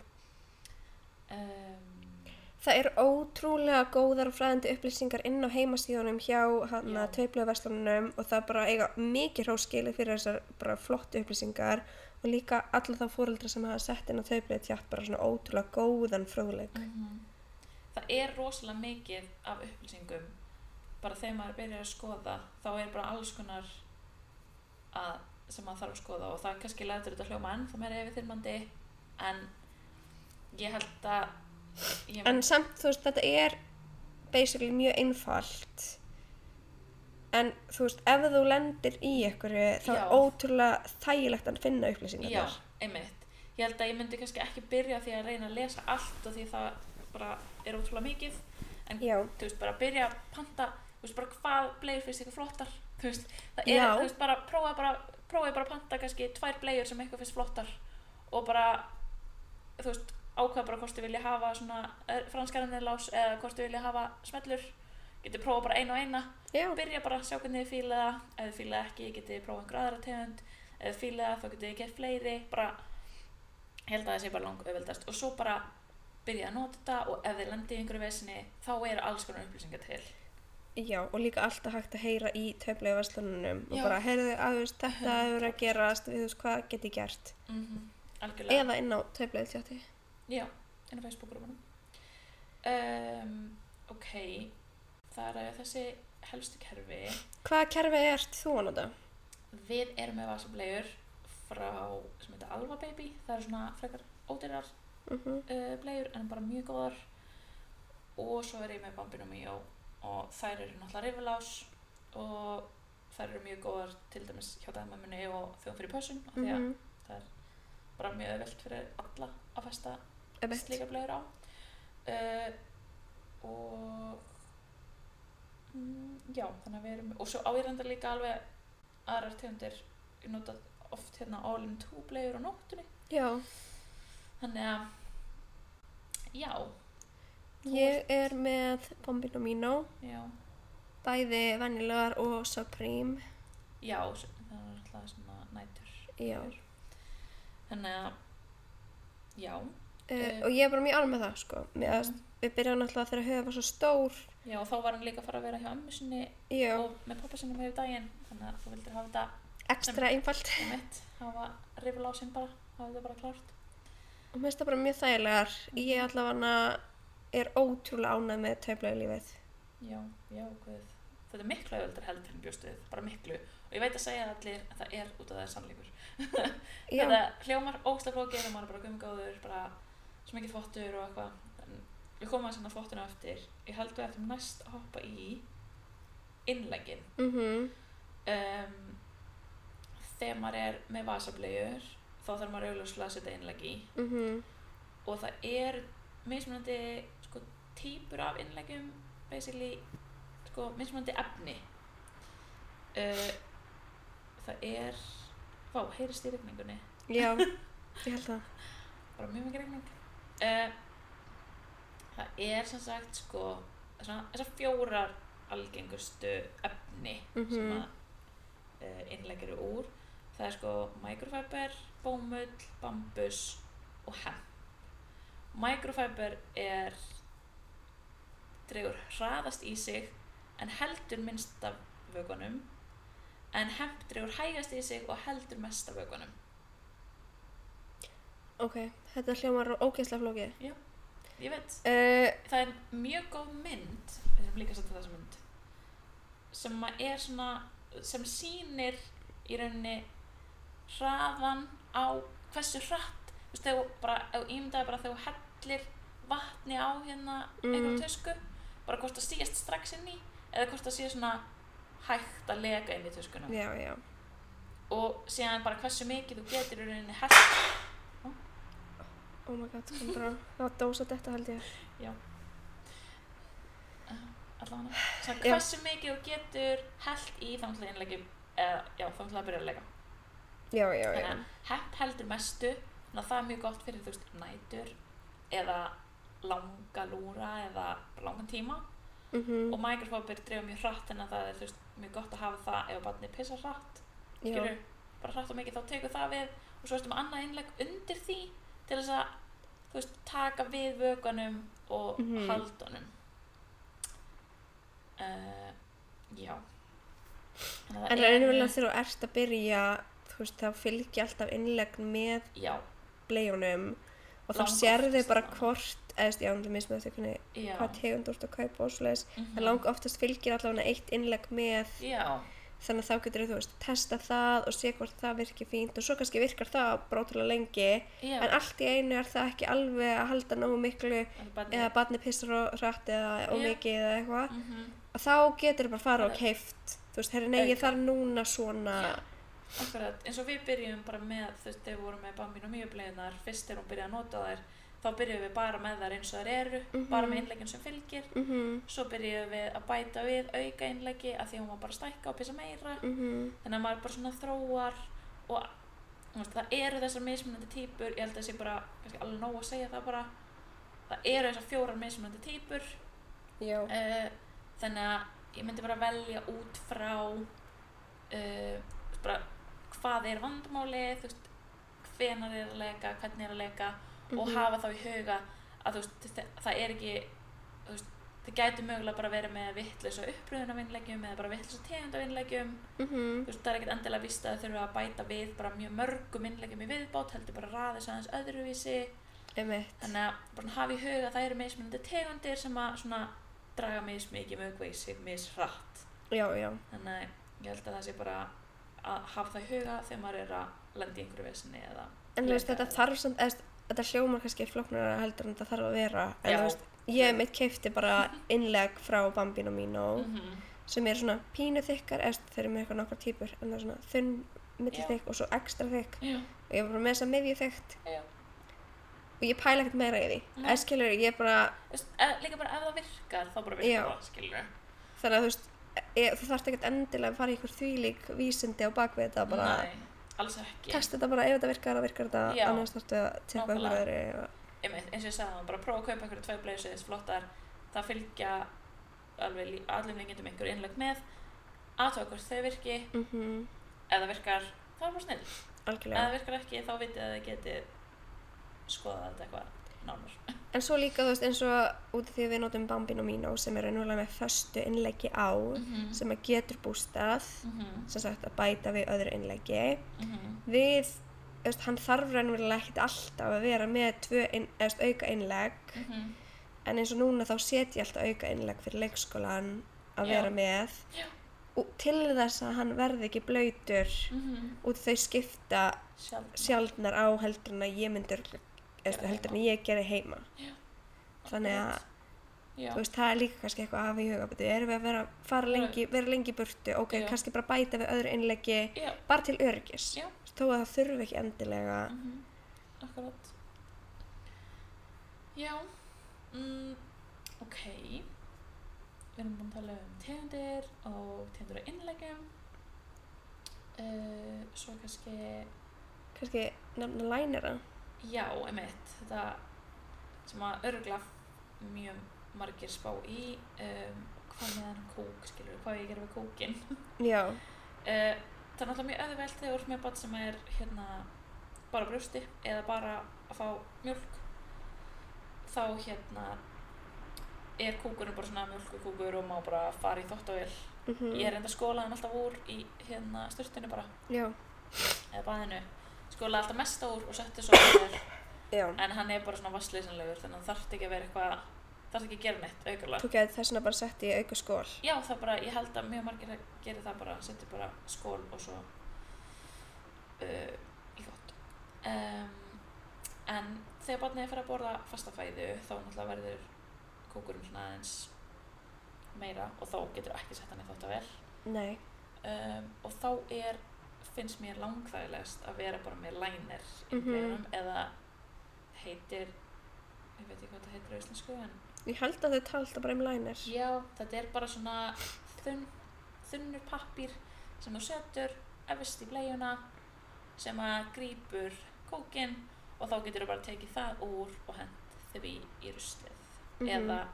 um,
Það er ótrúlega góðar og fræðandi upplýsingar inn á heimasíðunum hjá hann
Já.
að taupluverslunum og það bara eiga mikið hróskilið fyrir þessar bara flottu upplýsingar og líka alla þá fóreldra sem hafa sett inn á taupluð tjátt bara svona ótrúlega góðan fróðleik.
Mm. það er rosalega mikið af upplýsingum bara þegar maður byrjar að skoða þá er bara alls konar að, sem maður þarf að skoða og það kannski lætur þetta hljóma enn þá meira yfirþyrmandi en ég held að ég
En samt þú veist þetta er basically mjög einfalt en þú veist ef þú lendir í einhverju þá
Já.
er ótrúlega þægilegt að finna upplýsingar
Já, einmitt. Ég held að ég myndi kannski ekki byrja á því að reyna að lesa allt og því það bara er ótrúlega mikið. En
Já.
þú veist, bara byrja að panta, þú veist, bara hvað bleiður finnst ykkur flottar. Þú veist, það er,
Já.
þú veist, bara prófa bara, prófa bara að panta kannski tvær bleiður sem ykkur finnst flottar og bara, þú veist, ákveða bara hvort þið vilja hafa svona eh, franskarannirlás eða hvort þið vilja hafa smellur. Getið prófa bara einu og eina
Já,
byrja bara að sjá hvernig þið fíla það ef þið fíla það ekki, getið þið prófað einhver aðra tegund ef þið fíla það, þá getið þið gert fleiri bara, ég held að það sé bara lang öfveldast og svo bara byrja að nota þetta og ef þið lendið í einhverju vesinni þá eru alls konar upplýsingar til
Já, og líka alltaf hægt að heyra í töflegu verslununum og
Já.
bara heyrðu að þú veist, þetta hefur að gerast við þú veist hvað get ég gert
mm algjörlega
eða inn á töflegu tjátti
já, inn á Facebook-grúmanum um, ok það eru þessi helstu kerfi
Hvaða kerfi ert þú að nota?
Við erum með vasablegur frá sem heitir Alva Baby. Það eru svona frekar ódýrar
Mhm.
uh, blegur en bara mjög góðar. Og svo er ég með Bambino Mio og þær eru náttúrulega rifulás og þær eru mjög góðar til dæmis hjá dæmamunni og þjóðum fyrir pössun af því að
Mhm,
það er bara mjög öðvelt fyrir alla að festa
einmitt.
slíkar blegur á. Uh, og mm, já, þannig að við erum og svo á ég reyndar líka alveg aðrar tegundir ég nota oft hérna all in two blegur á nóttunni
Já,
þannig að já, Þú
ég er með Bombino Mino
já
bæði venjulegar og Supreme
já, s- það er alltaf svona nætur
Já,
Ég þannig að já,
uh,
Eh.
og ég er bara mjög alveg með það sko með að við byrjum alltaf þegar höfum var svo stór
já og þá var hann líka að fara að vera hjá ömmu sinni
Já,
og með pappa sinni með yfir daginn þannig að þú vildir hafa þetta
ekstra einfalt
um mitt hafa rifla á sinn bara, hafa þetta bara klárt
og mér finnst það bara mjög þægilegar ég allavega er ótrúlega ánægð með töflegu lífið
já, já, guð þetta er miklu auðvöldar heldur en bjóst við, bara miklu og ég veit að segja það allir að það er út af það er sannleikur
Já.
þetta hljómar ógsta flókið og maður er bara gumgóður bara svo mikið þvottur og eitthvað en við komum að senda þvottuna eftir ég held við eftir næst að hoppa í innleggin
mhm
um, þegar maður er með vasablegur þá þarf maður auðvitað að setja innlegg í
mhm,
og það er mismunandi sko, típur af innleggjum basically sko, mismunandi efni uh, það er vá, heyrist í regningunni
Já, ég held það.
bara mjög mikið regning uh, það er sem sagt sko svona, þessar fjórar algengustu efni sem
Mhm.
að uh, innleggjur eru úr það er sko microfiber, bómull, bambus og hemp microfiber er dregur hraðast í sig en heldur minnst af vökunum en hemp dregur hægast í sig og heldur mest af vökunum
Ok, þetta hljómar ógeðslega flókið.
ég veit
Uh,
það er mjög góð mynd við erum líka satt að þessa mynd sem að er svona sem sýnir í rauninni hraðan á hversu hratt þú veist, þegar þú bara, ef þú ímyndaði bara þegar þú hellir vatni á hérna
Mhm.
einhverjum tösku, bara hvort það síðast strax inn í eða hvort það síðast svona hægt að lega inn í töskuna
já, já.
og síðan bara hversu mikið þú getur í rauninni hægt
Oh my god, kom bara. Það var dósa þetta held ég.
allavega svona
Já.
hversu mikið þú getur held í þannig að innleggjum eða, já, þá ætlaði að byrja að leika
já, já, já,
þannig að hepp heldur mestu þannig að það er mjög gott fyrir þú veist nætur eða langa lúra eða bara langan tíma
Mhm,
og mikrofóbir dreifum mjög hratt þannig að það er þú veist mjög gott að hafa það ef barnið pissar hratt
já,
skilur, bara hrætt og mikið þá tekur það við og svo ertu með annað innlegg undir því til þess að þú veist, taka við vökanum og mm
Mhm.
haldunum uh, já Þannig að
en
það eru-
raunverulega þegar þú ert að byrja þú veist, þá fylgja alltaf innlegg með
já,
bleiunum og þá
Langoftast
sérðu bara
þannig.
hvort eða þú veist, já, það mismið eftir hvernig
já,
hvað tegund úr að kaupa og svoleiðis
Mhm.
en lang oftast fylgir allavega eitt innlegg með
já,
þannig að þá getur þú veist testa það og sé hvort það virkir fínt og svo kannski virkar það brótulega lengi
já
en allt í einu er það ekki alveg að halda nógu miklu
en bara
eða barni pissar og rætt eða og
Já.
mikið eða eitthvað
mm
að þá getur bara fara og
Bara-
keift þú veist, herri nei ég
Auka.
þarf núna svona
Já, akkurat, eins og við byrjum bara með, þú veist, þegar við vorum með Bambi og Mjöbleinar, fyrst þegar hún byrjaði að nota þær, þá byrjum við bara með þær eins og þær eru,
Mhm.
bara með innleggin sem fylgir,
mhm,
svo byrjuðum við að bæta við auka innleggi að því að hún var bara að stækka og pissa meira
mhm,
þannig að maður bara svona þróar og þú veist, það eru þessar mismunandi típur ég held að það sé bara, kannski alveg nóg að segja það bara það eru þessar fjórar mismunandi típur
já,
uh, þannig að ég myndi bara velja út frá uh, bara hvað er vandamálið þú veist, hvenar er að leika hvernig er að leika og
Mhm.
hafa þá í huga að þú veist, þe- það er ekki þú veist, það gæti mögulega bara verið með vittlösa uppröðun af innleggjum eða bara vittlösa tegund af innleggjum
mhm,
þú veist, það er ekkert endilega víst að þau þurfa að bæta við bara mjög mörgum innleggjum í viðbót heldur bara raðis aðeins öðruvísi
emitt
þannig að bara hafa í huga að það eru mismunandi tegundir sem að svona draga mismikið mögveis sig mishratt
já, já,
þannig að ég held að það sé bara að hafa það í huga þegar maður er að lenda í einhverju vesinni eða
en þú veist
Leika
þetta
eða-
þarf samt, eða þú veist, þetta hljómar kannski flóknara heldur en þetta þarf að vera en
Já.
þú veist, ég mitt keifti bara innlegg frá bambinu mínu
Mhm.
sem er svona pínu þykkar, eða þú veist, þeir eru með eitthvað nokkar típur en það er svona þunn,
Já.
mittl þykk og svo ekstra þykk
já,
og ég var bara með þess að miðju þykkt
já
og ég pæla ekkert meira í því
Nei.
eða skilur ég bara,
Þú veist, e- líka bara ef það virkar þá bara
Já.
virkar það skilur
þannig að þú veist ég, þú þarft ekkert endilega að fara í einhver þvílík vísindi á bakvið þetta bara
Nei, alls ekki
testa þetta bara ef þetta virkar þá virkar þetta
Já.
annars þarftu að tjekka
Nákvæmlega.
einhver öðru og...
einmitt, eins og ég sagði hann, bara prófa að kaupa einhverju tvær bleysið þess flottar, það fylgja alveg lí- allum líkindum einhverju innlögg með, aðtöða hvort þau virki,
mm
ef það virkar, þá er bara snill, ef
algjörlega
það virkar ekki, þá vitið að þið getið skoðað þetta eitthvað nánar.
En svo líka, þú veist, eins og út af því að við notum Bambino Mino sem er raunverulega með föstu innleggi á
Mhm.
sem að getur bústað
Mhm,
sem sagt að bæta við öðru innleggi
mhm,
við, þú veist, hann þarf raunverulega ekkert alltaf að vera með tvö inn, eða, þú veist, auka innlegg
mhm,
en eins og núna þá set ég alltaf auka innlegg fyrir leikskólan að
Já.
vera með
Já.
og til þess að hann verði ekki blöytur
mhm,
út af þau skipta
sjálf.
sjaldnar á heldur en að ég myndi örugglega- eða, þú
Gera
veist, heldur en að ég geri heima þannig að
Já,
þú veist, það er líka kannski eitthvað að hafa í huga betur, erum við að vera, fara
Já.
lengi, vera lengi í burtu, ok,
Já.
kannski bara bæta við öðru innleggi,
já,
bara til öryggis
Já.
þó að það þurfi ekki endilega
mhm, akkurat. Já, mm, ok, við erum búin að tala um tegundir og tegundir á innleggjum. Uh, svo kannski,
kannski nefna lænera
já, emitt, þetta sem að örgla mjög margir spá í, um, hvað með hann kúk, skilur við, hvað ég gera við kúkin.
já,
Uh, það er náttúrulega mjög öðvelt þegar þú ert með barn sem er hérna bara á brjósti eða bara að fá mjölk þá hérna er kúkurinn bara svona mjölkukúkur og má bara fara í þóttavél
mm
ég er enda að skóla hann alltaf úr í hérna styrtunni bara
já,
eða baðinu skóla alltaf mest úr og setti svo á þér
já
en hann er bara svona vassleysanlegur þannig að hann þarf ekki að vera eitthvað þarf ekki að gera neitt aukurlega
þú getur þess vegna bara sett í auka skól
já það bara, ég held að mjög margir gerir það bara, setja bara skól og svo uh, í gott um, en þegar barnið er fyrir að borða fasta fæðu þá náttúrulega verður kókurinn svona aðeins meira og þá getur ekki sett hann í þótt vel
nei,
um, og þá er finnst mér langþægilegast að vera bara með lænir í
Mhm.
mm eða heitir ég veit ekki hvað það heitir á íslensku en
ég held að þau tala alltaf bara um læner
Já, þetta er bara svona þunn, þunnur pappír sem þú setur efst í bleiuna sem að grípur kókin og þá getur þú bara tekið það úr og hent því í ruslið
Mhm.
eða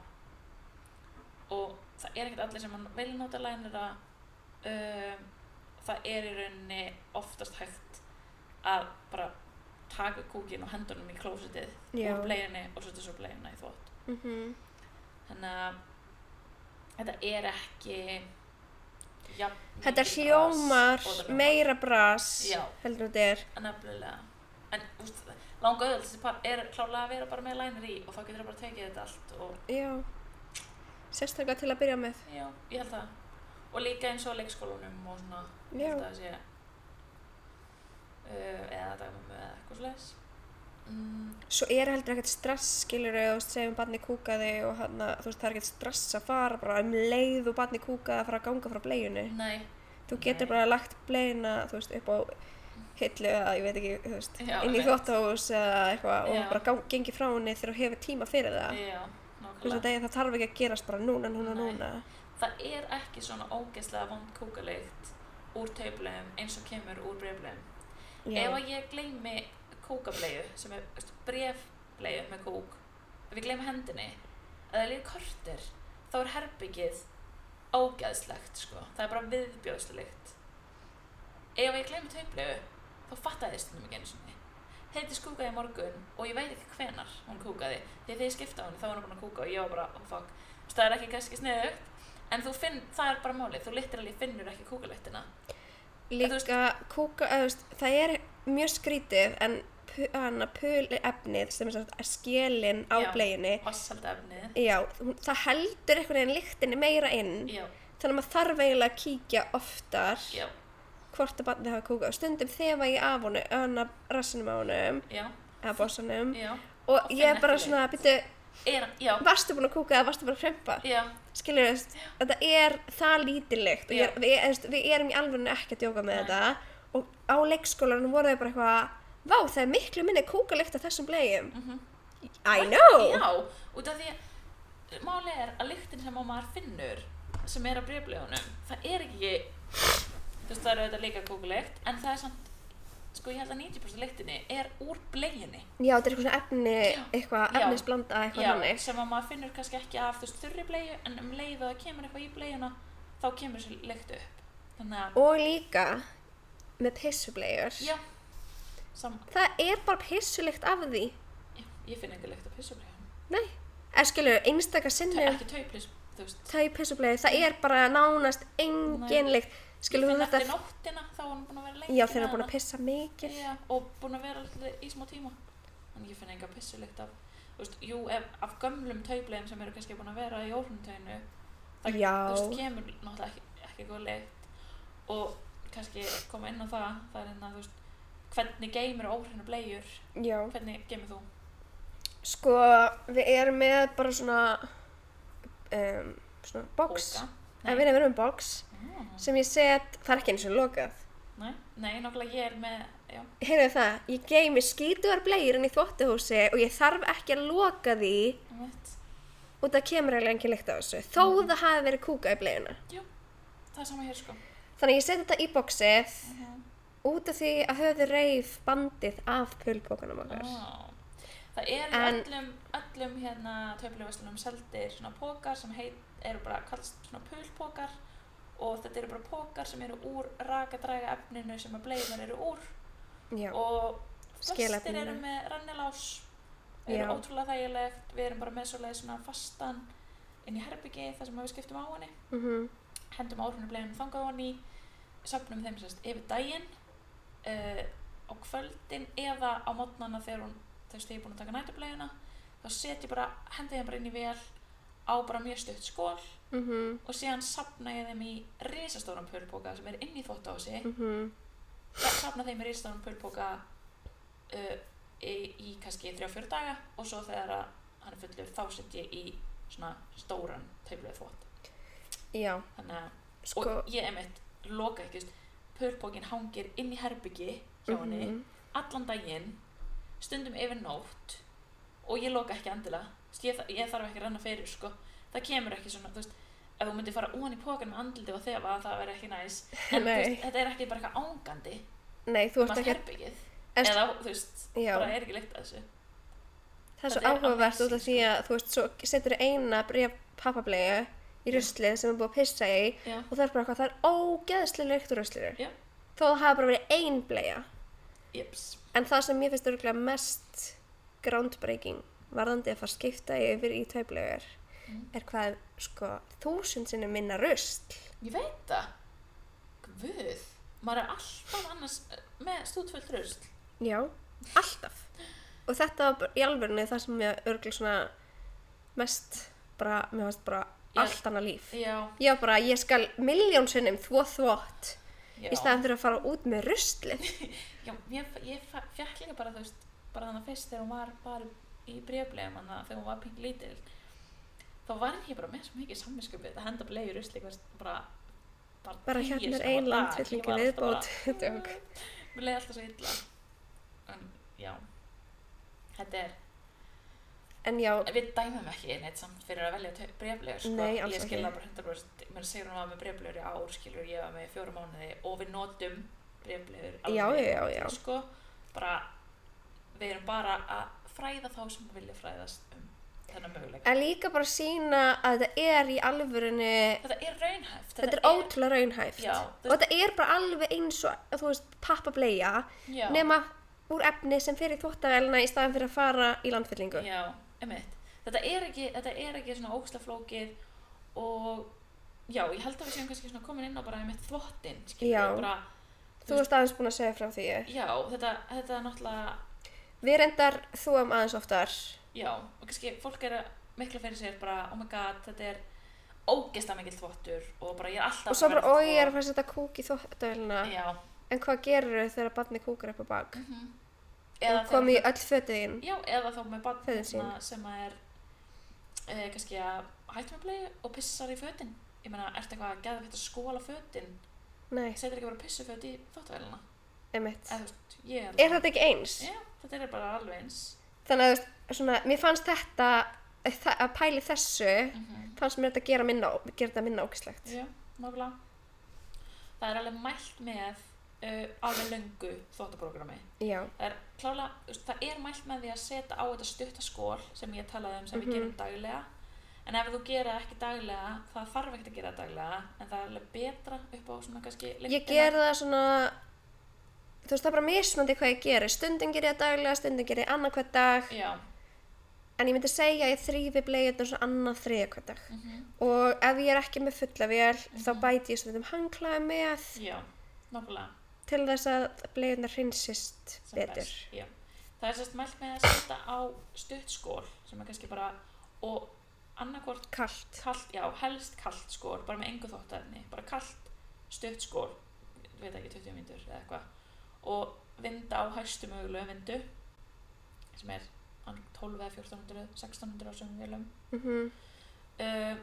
og það er ekkert allir sem hann vilja nota lænera um, það er í rauninni oftast hægt að bara taka kókin og henda honum í klósitið
Já.
úr bleiunni og setja svo bleiuna í þvott
Mhm.
þannig að þetta er ekki jafn
Þetta
mikið
hljómar
bras og þetta hljómar-
meira bras
Já.
heldur þetta er.
nefnilega en úst, langa öðvöld þessi par er klálega að vera bara með lænir í og þá getur það bara tekið þetta allt og
Já. Sérstaklega til að byrja með.
já, ég held það og líka eins og á leikskólanum og svona ég
Já.
held að það sé uh, eða dagmum eða eitthvað slags mm,
Svo er heldur ekkert stress, skilur þú veist, segjum barni kúkaði og hann að, þú veist, það er ekkert stress að fara bara um leið og barni kúkaði að fara að ganga frá bleiunni.
nei,
Þú getur
Nei.
bara lagt bleina, þú veist, upp á hillu eða, ég veit ekki, þú veist,
Já,
inn í
einmitt.
þvóttahús eða eitthvað
Já.
og bara gang, gengi frá henni þegar þú hefur tíma fyrir það.
já,
Þú veist,
nákvæmlega
það, það þarf ekki að gerast bara núna, núna,
Nei.
núna.
það er ekki svona ógeðslega vond kúkaleikt úr taublegum eins og kemur úr breyflegum Ef
Já.
að ég gleymi kókableiðu, sem er veist, brefbleiðu með kók, ef ég gleymi hendinni, eða líka kortir, þá er herbyggið ógæðslegt, sko. Það er bara viðbjóðslegt. Ef ég gleymi taubleiðu, þá fattaði ég stundum ekki einu sinni. Heiðis kúkaði í morgun og ég veit ekki hvenar hún kúkaði. Þegar þegar ég skipta á henni, þá var hún búin að kúka og ég var bara, oh fuck, Þú veist, það er ekki kannski sniðugt. En þú finn, það er bara málið, þú literally finnur ekki kúkalegtina. þú veist-
Líka kúka, eða, þú veist, það er mjög skrítið en pu- hana pöli efnið sem er sagt að skilin á
Já.
bleiunni,
Vassaldefnið.
já, hún- það heldur einhvern veginn lyktinni meira inn,
Já,
þannig að maður þarf eiginlega að kíkja oftar
já,
hvort að barnið hafa kúkað. Stundum þefa ég af honum, hana rassinum á honum,
já.
eða bossanum
Já,
og
Og
ég er
finn
bara
ekki
svona, býttu,
er, já,
varstu búin að kúka eða varstu bara að frempa?
já,
skilur veist, þetta er það lítilegt og ég,
Já.
við, ég- veist, við erum í alveg ekki að djóka með þetta og á leikskólanum voru þau bara eitthvað vá það er miklu minni kúkalikt af þessum blegjum
Mhm.
I know
já, út af því að eh, málið er að lyktin sem að maður finnur sem er á breflegunum, það er ekki, þú veist það eru auðvitað líka kúkulykt, en það er samt, sko ég held að 90% lyktinni er úr bleginni.
já þetta er eitthvað svona efni
Já.
eitthvað
Já.
efnisblanda eitthvað
Já,
hannig
sem að maður finnur kannski ekki af þú veist þurri blegu, en um leið og það kemur eitthvað í bleguna, þá kemur þessi lykt upp. Þannig að,
og líka með pissublegjur
já, sam,
það er bara pissulikt af því
já, ég finn enga lykt á pissublegunum.
nei, eða skilur einstaka
Það
sinnum
er ekki tauplis, þú veist.
það er pissublegjur, það er bara nánast engin
Nei.
lykt skilur
Ég
þú
finn
þetta
eftir nóttina, þá er hann búin að vera lengi hérna.
já þeir eru
með
búin að
hana.
pissa mikið
Já, og búin að vera alltaf í smá tíma þannig ég finn enga pissulykt af þú veist, jú, ef, af gömlum taublegum sem eru kannski búin að vera í órhundtöginu það
Já.
þú veist, kemur náttúrulega ekki, ekki góð lykt og kannski koma inn á það það er hérna, þú veist, hvernig geymir óhrinu blegjur,
já.
hvernig geymir þú
Sko, við erum með bara svona, um, svona box.
Bóka?
En við erum með box
Mm,
sem ég set, það er ekki eins og lokað.
Nei, nei, nákvæmlega ég er með, já,
Heyrðu það, ég geymi skítugar bleiur inn í þvottuhúsi og ég þarf ekki að loka því
um veit,
og það kemur eiginlega engin lykt á þessu. Þó
Mm.
það hafi verið kúka í bleiguna.
það er sama hér sko.
Þannig að ég seti þetta í boxið
Mhm.
út af því að höfðu reif bandið af pulbókanum okkar.
Á. Það er í
En-
öllum, öllum hérna töfluveslunum seldir svona pókar sem heit, eru bara kallst svona pulpókar og þetta eru bara pókar sem eru úr rakadræga efninu sem að bleiðar eru úr
Já,
og flestir
Skelefninu.
eru með rannilás
Já.
eru ótrúlega þægilegt við erum bara með svoleið svona fastan inn í herbyggi þar sem við skiptum á henni
mhm,
hendum árhunu bleiðinu þangað á henni söfnum þeim sérst yfir daginn uh, á kvöldin eða á mótnana þegar hún þú veist, þegar ég er búin að taka nætubleguna þá set ég bara, hendi þeim bara inn í vel á bara mjög stutt skól
mhm,
og síðan sapna ég þeim í risastóran pölpóka sem er inn í þvóttási
mhm,
sapna þeim í risastóran pölpóka uh, í, í kannski 3-4 daga og svo þegar að hann er fullur þá set ég í svona stóran tauflöðu þvótt
já,
þannig að
sko.
og ég einmitt loka ekki pörpókin hangir inn í herbyggi hjá henni
mhm.
allan daginn stundum yfir nótt og ég loka ekki endilega Þú veist, ég, þa- ég þarf ekki að renna fyrir sko. það kemur ekki svona þú veist, ef þú myndir fara ofan í pókan með andliti og þefa það verður ekki næs en þú
Nei.
veist, þetta er ekki bara eitthvað ángandi
Nei, þú ert
maður
ekki
herbyggið
En-
eða þú veist,
Já.
bara er ekki lykt að þessu
Það er svo
Þetta er
áhugavert út
amazing,
af því að þú veist, svo setur þú eina bréf pappablegu í ruslið sem er búið að pissa í
Já.
og það er bara eitthvað, það er ógeðslega lykt úr ruslinu.
Já.
Þó það hafa bara verið ein bleja.
Jeps.
En það sem mér finnst örgulega mest groundbreaking varðandi að fara að skipta yfir í tveiblegar
Mm.
er hvað er, sko þúsund sinni minna rusl.
ég veit það guð, maður er alltaf annars eh, með stútfullt rusl
Já, alltaf. Og þetta var bara, í alvörinu það sem mér örgulega svona mest bara, mér fannst bara
Já.
allt annað líf.
já,
Já, bara ég skal miljón sinnum þvó þvótt
já.
í staðan fyrir að fara út með ruslið.
Já, ég, ég fjall líka bara, þú veist, bara þannig fyrst þegar hún var bara í breflegum þannig að þegar hún var pink lítil þá var ég bara með svo mikið samvinsköpið þetta henda blei í rusli hvert bara bara,
Bara
tíu
hérna er
sama
ein
dag. Ég
landfyllingu
var alltaf
viðbót.
bara,
Djók.
mér leiði alltaf svo illa en já þetta er,
En já,
við dæmum ekki neitt samt fyrir að velja breflegur sko.
Nei, alls
ég skil það
ekki.
bara 100% mér segir hún var með breflegur í ár skilur ég var með í fjóra mánuði og við notum breflegur
já, já, já, já.
sko, bara við erum bara að fræða þá sem vilja fræðast um þennan möguleika
En líka bara sína að þetta er í alvörinu,
þetta er raunhæft
þetta, er ótrúlega raunhæft.
Já, þú
og þetta er bara alveg eins og, þú veist, pappableia,
já,
nema úr efni sem fer í þvóttavælina í staðan fyrir að fara í landfyllingu.
já, einmitt. þetta er ekki, þetta er ekki svona ógslaflókið og já, ég held að við séum kannski svona komin inn á bara einmitt þvottinn skilur
Já.
við bara
Þú veist aðeins búin að segja frá því.
já, þetta, þetta er náttúrulega
Við reyndar þúum aðeins oftar.
já, og kannski fólk er miklu fyrir sér bara, oh my god, þetta er ógesta mikill þvottur og bara ég er alltaf
Og svo bara,
verð
oi, ég er að
og-
fara að setja kúk í þvóttavælina.
já, Mhm.
En hvað gerir þau þegar barni kúkar upp á bak?
eða
Eða
þegar-
kom í öll fötuðin.
Já, eða þá með barn
Föður sín.
hérna sem að er e, kannski að hættu með blei og pissar í fötin. Ég meina, ertu eitthvað að geða þetta skóla fötin?
Nei,
Setur ekki bara pissuföt í þóttavæluna?
einmitt.
Eða þú veist, ég
Er þetta ekki eins?
Já, þetta er bara alveg eins.
Þannig að þú veist, svona, mér fannst þetta, þa- að pæli þessu,
Mm -hmm.
fannst mér þetta gera, minna, gera þetta minna ógislegt.
Já, nákvæmlega. Það er alveg mælt með uh, alveg löngu þóttaprogrammi.
Já,
Það er klálega, þú veist, það er mælt með því að setja á þetta stuttaskól sem ég talaði um sem
Mhm.
við gerum daglega en ef þú gera það ekki daglega það þarf ekkert að gera það daglega en það er alveg betra upp á svona kannski
ég
lengdina.
ger það svona, þú veist, það er bara mismandi hvað ég gerir. Stundum ger ég það daglega, stundum ger ég annað hver dag,
Já,
en ég myndi segja að ég þrýfi bleiðinu svona annað þriða hver dag.
mm
Og ef ég er ekki með fulla vel, þá
Mhm.
bæti ég stundum hanglaði með
já, nákvæmlega
til þess að bleiðinu hrinsist
sem
betur.
best, já. Það er sérst mælt með að setja á stuttaskól sem er kannski bara og annarkvort
Kallt.
kallt, já, helst kallt skór bara með engu þóttaefni, bara kallt stutt skór, veit ekki 20 mínútur eða eitthvað, og vinda á hæstu mögulegu vindu sem er ann- 12 eða 1400 1600 á sögum vélum
Mm -hmm.
uh,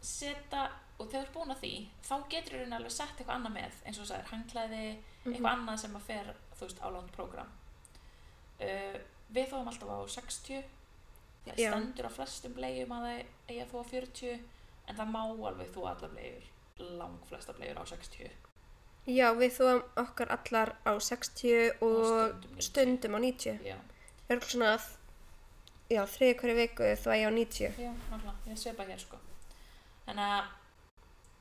seta, og þegar þú ert búin að því þá getur þú alveg sett eitthvað annað með eins og þú sagðir, hangklæði, eitthvað annað sem að fer, þú veist, á langt prógram uh, við fáum alltaf á 60 það
Já.
stendur á flestum blegjum að það eigi að fá á 40 en það má alveg þú allar blegjur langflesta blegjur á 60
Já, við þóum okkar allar á 60 og
stundum 90.
stundum á 90.
já,
Það er svona að, já, þriði hverju viku þú er ég á 90.
já, nákvæmlega, ég svipa hér sko þannig að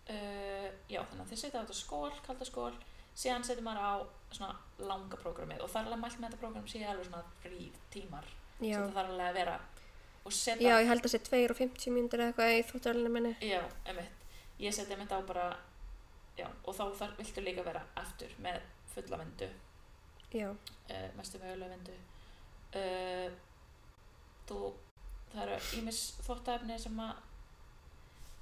uh, já, þannig að þið setja á þetta skól kalda skól, síðan setja maður á svona langa prógramið og það er alveg mælt með þetta prógram síðan alveg svona fríð tímar
Já,
sem það þarf alveg að vera og setja
já ég held að sé 2 og 50 mínútur eða eitthvað í þóttarölinu minni.
Já, emitt. Ég seti emitt á bara, já, og þá þar viltu líka vera aftur með fulla vindu,
Já,
uh, mestu mögulega vindu. Uh, þú, það eru ímis þvottaefni sem að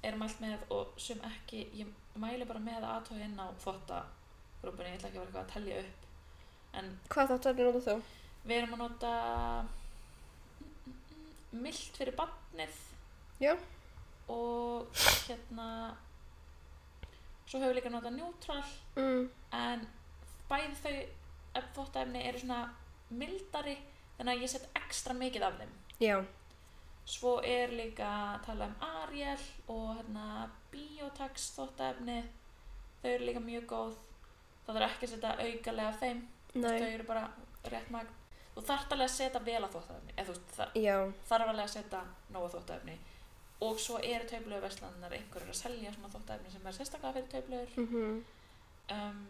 er mælt með og sem ekki, ég mæli bara með að aðtóa inn á þvottagrúpunni, ég ætla ekki að vera eitthvað að telja upp. En
hvað þóttarölinu notar þú?
við erum að nota mildt fyrir barnið
Já.
og hérna svo höfum við líka notað neutral
Mm,
en bæði þau þvóttaefni eru svona mildari þannig að ég set ekstra mikið af þeim
já,
Svo er líka að tala um Ariel og hérna Biotax þóttaefni. Þau eru líka mjög góð. Það þarf ekki að setja aukalega þeim. Þau
Nei,
eru bara rétt magn. Þú þarft alveg að setja vel að þóttaefni. Eða þú veist, það-
já,
þarf alveg að setja nóga þóttaefni. Og svo eru tauplugur verslannar einhverjur að selja svona þóttaefni sem er sérstaklega fyrir tauplugur.
mhm.
Um,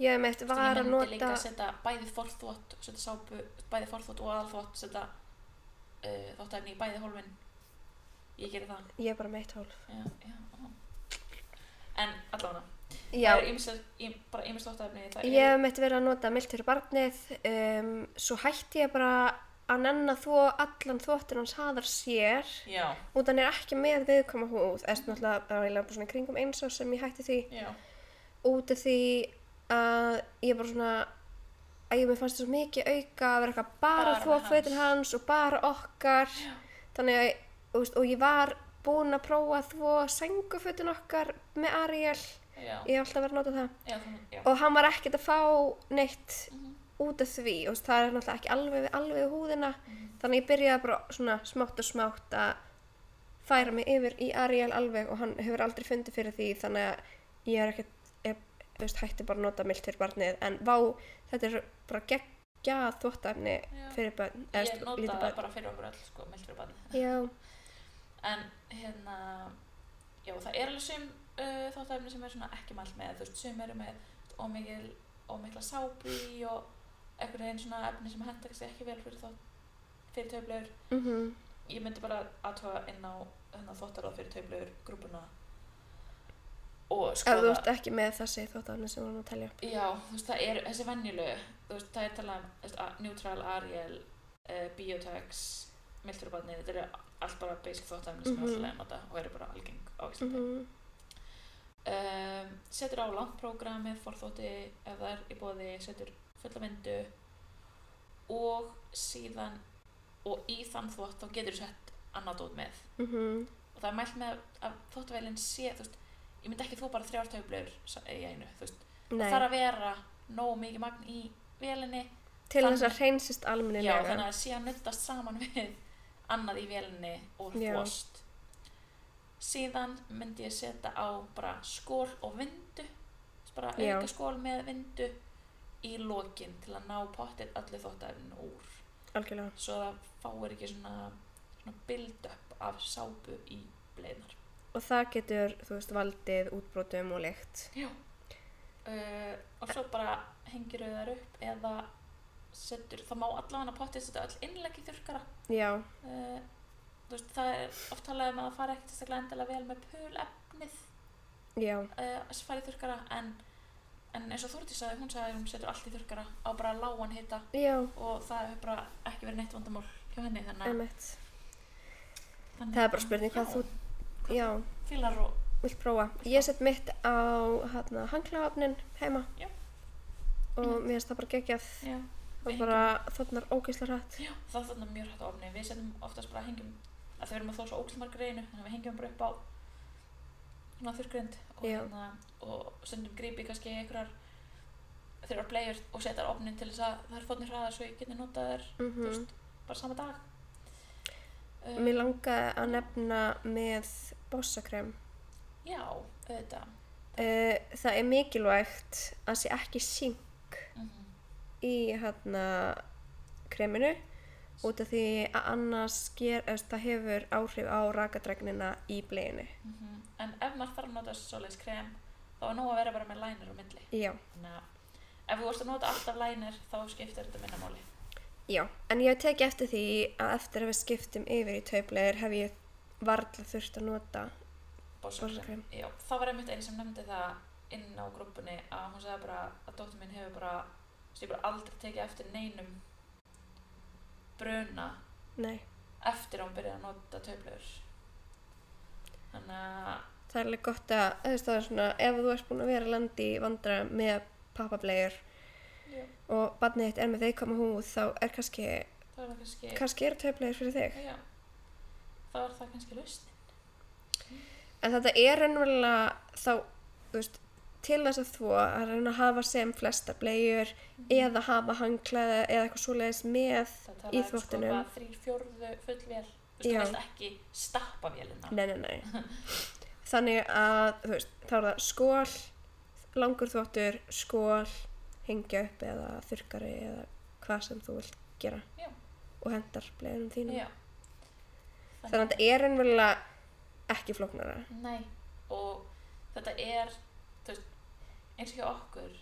Ég hef meitt var
ég
að
myndi líka
nota,
að setja bæði forþvott setja sápu, bæði forþvott og aðalþvott setja uh, þóttæfni í bæði hólfin ég gerir það
ég er bara meitt hól.
já, já, já. en allavega
Já,
það er ýmsir, ím, bara ýmis þóttæfni það
ég
er
hef meitt verið að nota meilt fyrir barnið, um, svo hætti ég bara að nenn að þó allan þvottin hans haðar sér
já,
og hann er ekki með viðkoma húð, eða svona náttúrulega það var eiginlega bara svona í kringum eins og sem ég hætti því
já,
út af því að ég bara svona að ég mér fannst það svo mikið auka að vera eitthvað bara,
Bara
bara þvó
með
fötin hans og bara okkar þannig að þú veist, og ég var búin að prófa að þvó sængufötin okkar með Ariel
já,
ég hef alltaf verið að nota það
já, þannig- já.
og hann var ekkert að fá neitt
Mhm.
út af því og það er náttúrulega ekki alveg, við- alveg við húðina
mhm.
þannig að ég byrjaði bara svona smátt og smátt að færa mig yfir í Ariel alveg og hann hefur aldrei fundið fyrir því þannig að ég er ekkert er, þú veist, hætti bara að nota milt fyrir barnið en vá, þetta er bara geggjað þvóttafni
Já.
fyrir barn
ég
eða
nota
lítið
það
barn
bara fyrir okkur öll sko, meld fyrir barnið
Já,
en hérna já, það er alveg sum uh, þáttæfni sem er svona ekki mælt með þú veist, sum eru með ómikil ómikla sápu í og einhvern veginn svona efni sem henda kannski ekki vel fyrir þátt fyrir töflur
mhm,
ég myndi bara aðtóa inn á hérna, þóttaráð fyrir töflur grúpuna og
ef þú
skoða
ert ekki með þessi þvóttafni sem við vorum að telja upp
já, þú veist, það er þessi venjulegu þú veist, það er talað um þú veist, að Neutral, Ariel, uh, Biotex Milturbarnið, þetta eru allt bara basic þóttæfni sem mm
Mhm.
-hmm. er alltaf leið að nota og eru bara algeng á Íslandi
mm
um, setur á langt prógramið forþótti ef það er í bóði setur fulla vindu og síðan og í þann þvott þá getur þú sett annað dót með
mhm.
og það er mælt með að þvóttavélinn sé þú veist, ég myndi ekki þú bara þrjár töflur sa- í einu þú veist, það
Nei,
þarf að vera nógu mikið magn í vélinni
til þess
þannig-
að hreinsist
já,
almennilega
þannig að það sé að nuttast saman við annað í vélinni og
Já.
þvost síðan myndi ég setja á bara skól og vindu bara
Já.
auka skól með vindu í lokin til að ná pottið öllu þóttæfninu úr
Algjörlega
svo það fáir ekki svona, svona build up af sápu í bleiðnar
og það getur, þú veist, valdið útbrotum og lykt
uh, og svo bara hengir þar upp eða setur, það má allavega pottið setja öll innleggi þurrkara
já,
Eh, þú veist, það er oft talað um að það fara ekkert þess að glendala vel með pölefnið
já,
uh, sem fara í þurrkara en, en eins og Þórdís sagði, hún sagði að hún setur allt í þurrkara á bara lágan hita
já,
og það hefur bara ekki verið neitt vandamál hjá henni þannig,
emmett
þannig
það er bara spurning hvað
Já.
þú, já,
fílar og
vilt prófa ég set mitt á hana, hanglaofnin heima
Já.
og mér finnst það bara geggjað
já,
og
við
bara þotnar ógeðslega hrætt
já, það þarna mjög hrætt á ofni við setjum oftast bara hengjum að þau erum að þó svo óglismargri einu þannig að við hengjum bara upp á svona þurrgrind og,
Já.
hérna, og stundum grípi kannski einhverjar þeirra blegjur og setjar ofnin til þess að það er fórnir hraðar svo ég geti notað þær
mm
þú veist, bara sama dag uh,
mér langaði að nefna með bossakrem
já, auðvitað
uh, það er mikilvægt að sé ekki sink
mm
í hérna kreminu út af því að annars ger, eða, það hefur áhrif á rakadregnina í bleginu.
mhm. en ef maður þarf að nota svoleiðis krem þá er nóg að vera bara með lænir á milli
Já,
þannig að ef þú vorst að nota alltaf lænir þá skiptir þetta minna máli
já. En ég hef tekið eftir því að eftir að við skiptum yfir í taubleir hef ég varla þurft að nota.
Bossakrem.
Bossakrem.
Já, það var einmitt einu sem nefndi það inn á grúpunni að hún sagði bara að dóttir mín hefur bara, sem ég bara aldrei tekið eftir neinum bruna
Nei,
eftir að hún byrjaði að nota töflur. Þannig að,
það er alveg gott að, þú veist það er svona, ef þú ert búin að vera að landi í vandra með pappableir
Já.
og barnið þitt er með viðkama húð þá er kannski,
það var það kannski,
kannski eru taubleir fyrir þig.
já, þá er það kannski lausnin.
En þetta er raunverulega þá, þú veist, til þess að þvo að reyna að hafa sem flesta blegjur eða hafa hanglaði eða eitthvað svoleiðis með
Það
Í
talaði um sko
þvottinum.
hvað þrýr fjórðu fullvél, Þú
Já.
veist, þú vilt ekki stappa vélina.
Nei, nei, nei. Þannig að, þú veist, þá er það skól, langur þvottur, skól, hengja upp eða þurrkari eða hvað sem þú vilt gera.
Já.
Og hendar bleðunum þínum.
Já.
Þannig að þetta er einvegulega ekki flóknara.
Nei, og þetta er, þú veist, eins og hjá okkur,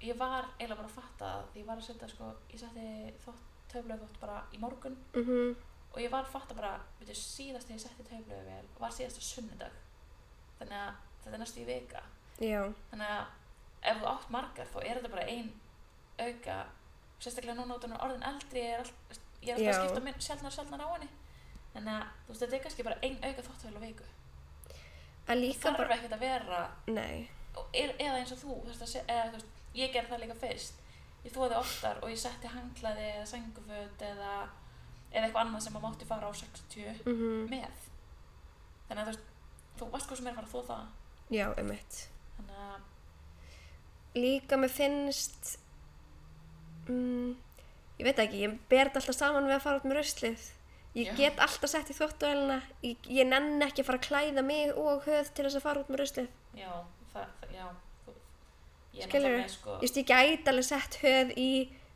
ég var eiginlega bara að fatta það, því ég var að setja, sko, ég setti þótt, töflöf þótt bara í morgun
Mm -hmm.
og ég var að fatta bara, veitu, síðast þegar ég setti töflöf vel var síðasta sunnudag, þannig að þetta er næstu í vika,
Já,
þannig að ef þú átt margar þá er þetta bara ein auka, sérstaklega núna út af orðin eldri, ég er, all, ég er alltaf
Já.
að skipta minn sjálfnar sjálfnar á henni, þannig að, þú veist, þetta er kannski bara ein auka þótt á viku,
að
það
líka
þarf
bara,
ekkert að vera
nei,
og er, eða eins og þú, þú veist, að se- eða, þú veist, ég gerði það líka fyrst ég þóði oftar og ég setti hanglaði eða sænguföt eða eða eitthvað annað sem maður mátti fara á 60
mm
með þannig að þú veist, þú varst hvað sem er að fara að þó það
já, um mitt.
þannig að,
Líka mér finnst, mm, ég veit ekki, ég ber þetta alltaf saman við að fara út með ruslið. Ég
Já.
get alltaf sett í þvóttuvælina, ég, ég nenn ekki að fara að klæða mig og höð til þess að fara út með ruslið.
já, það, það já þú, ég er
Skilurðu?
náttúrulega með sko
Ég veist, ég gæti alveg sett höð í,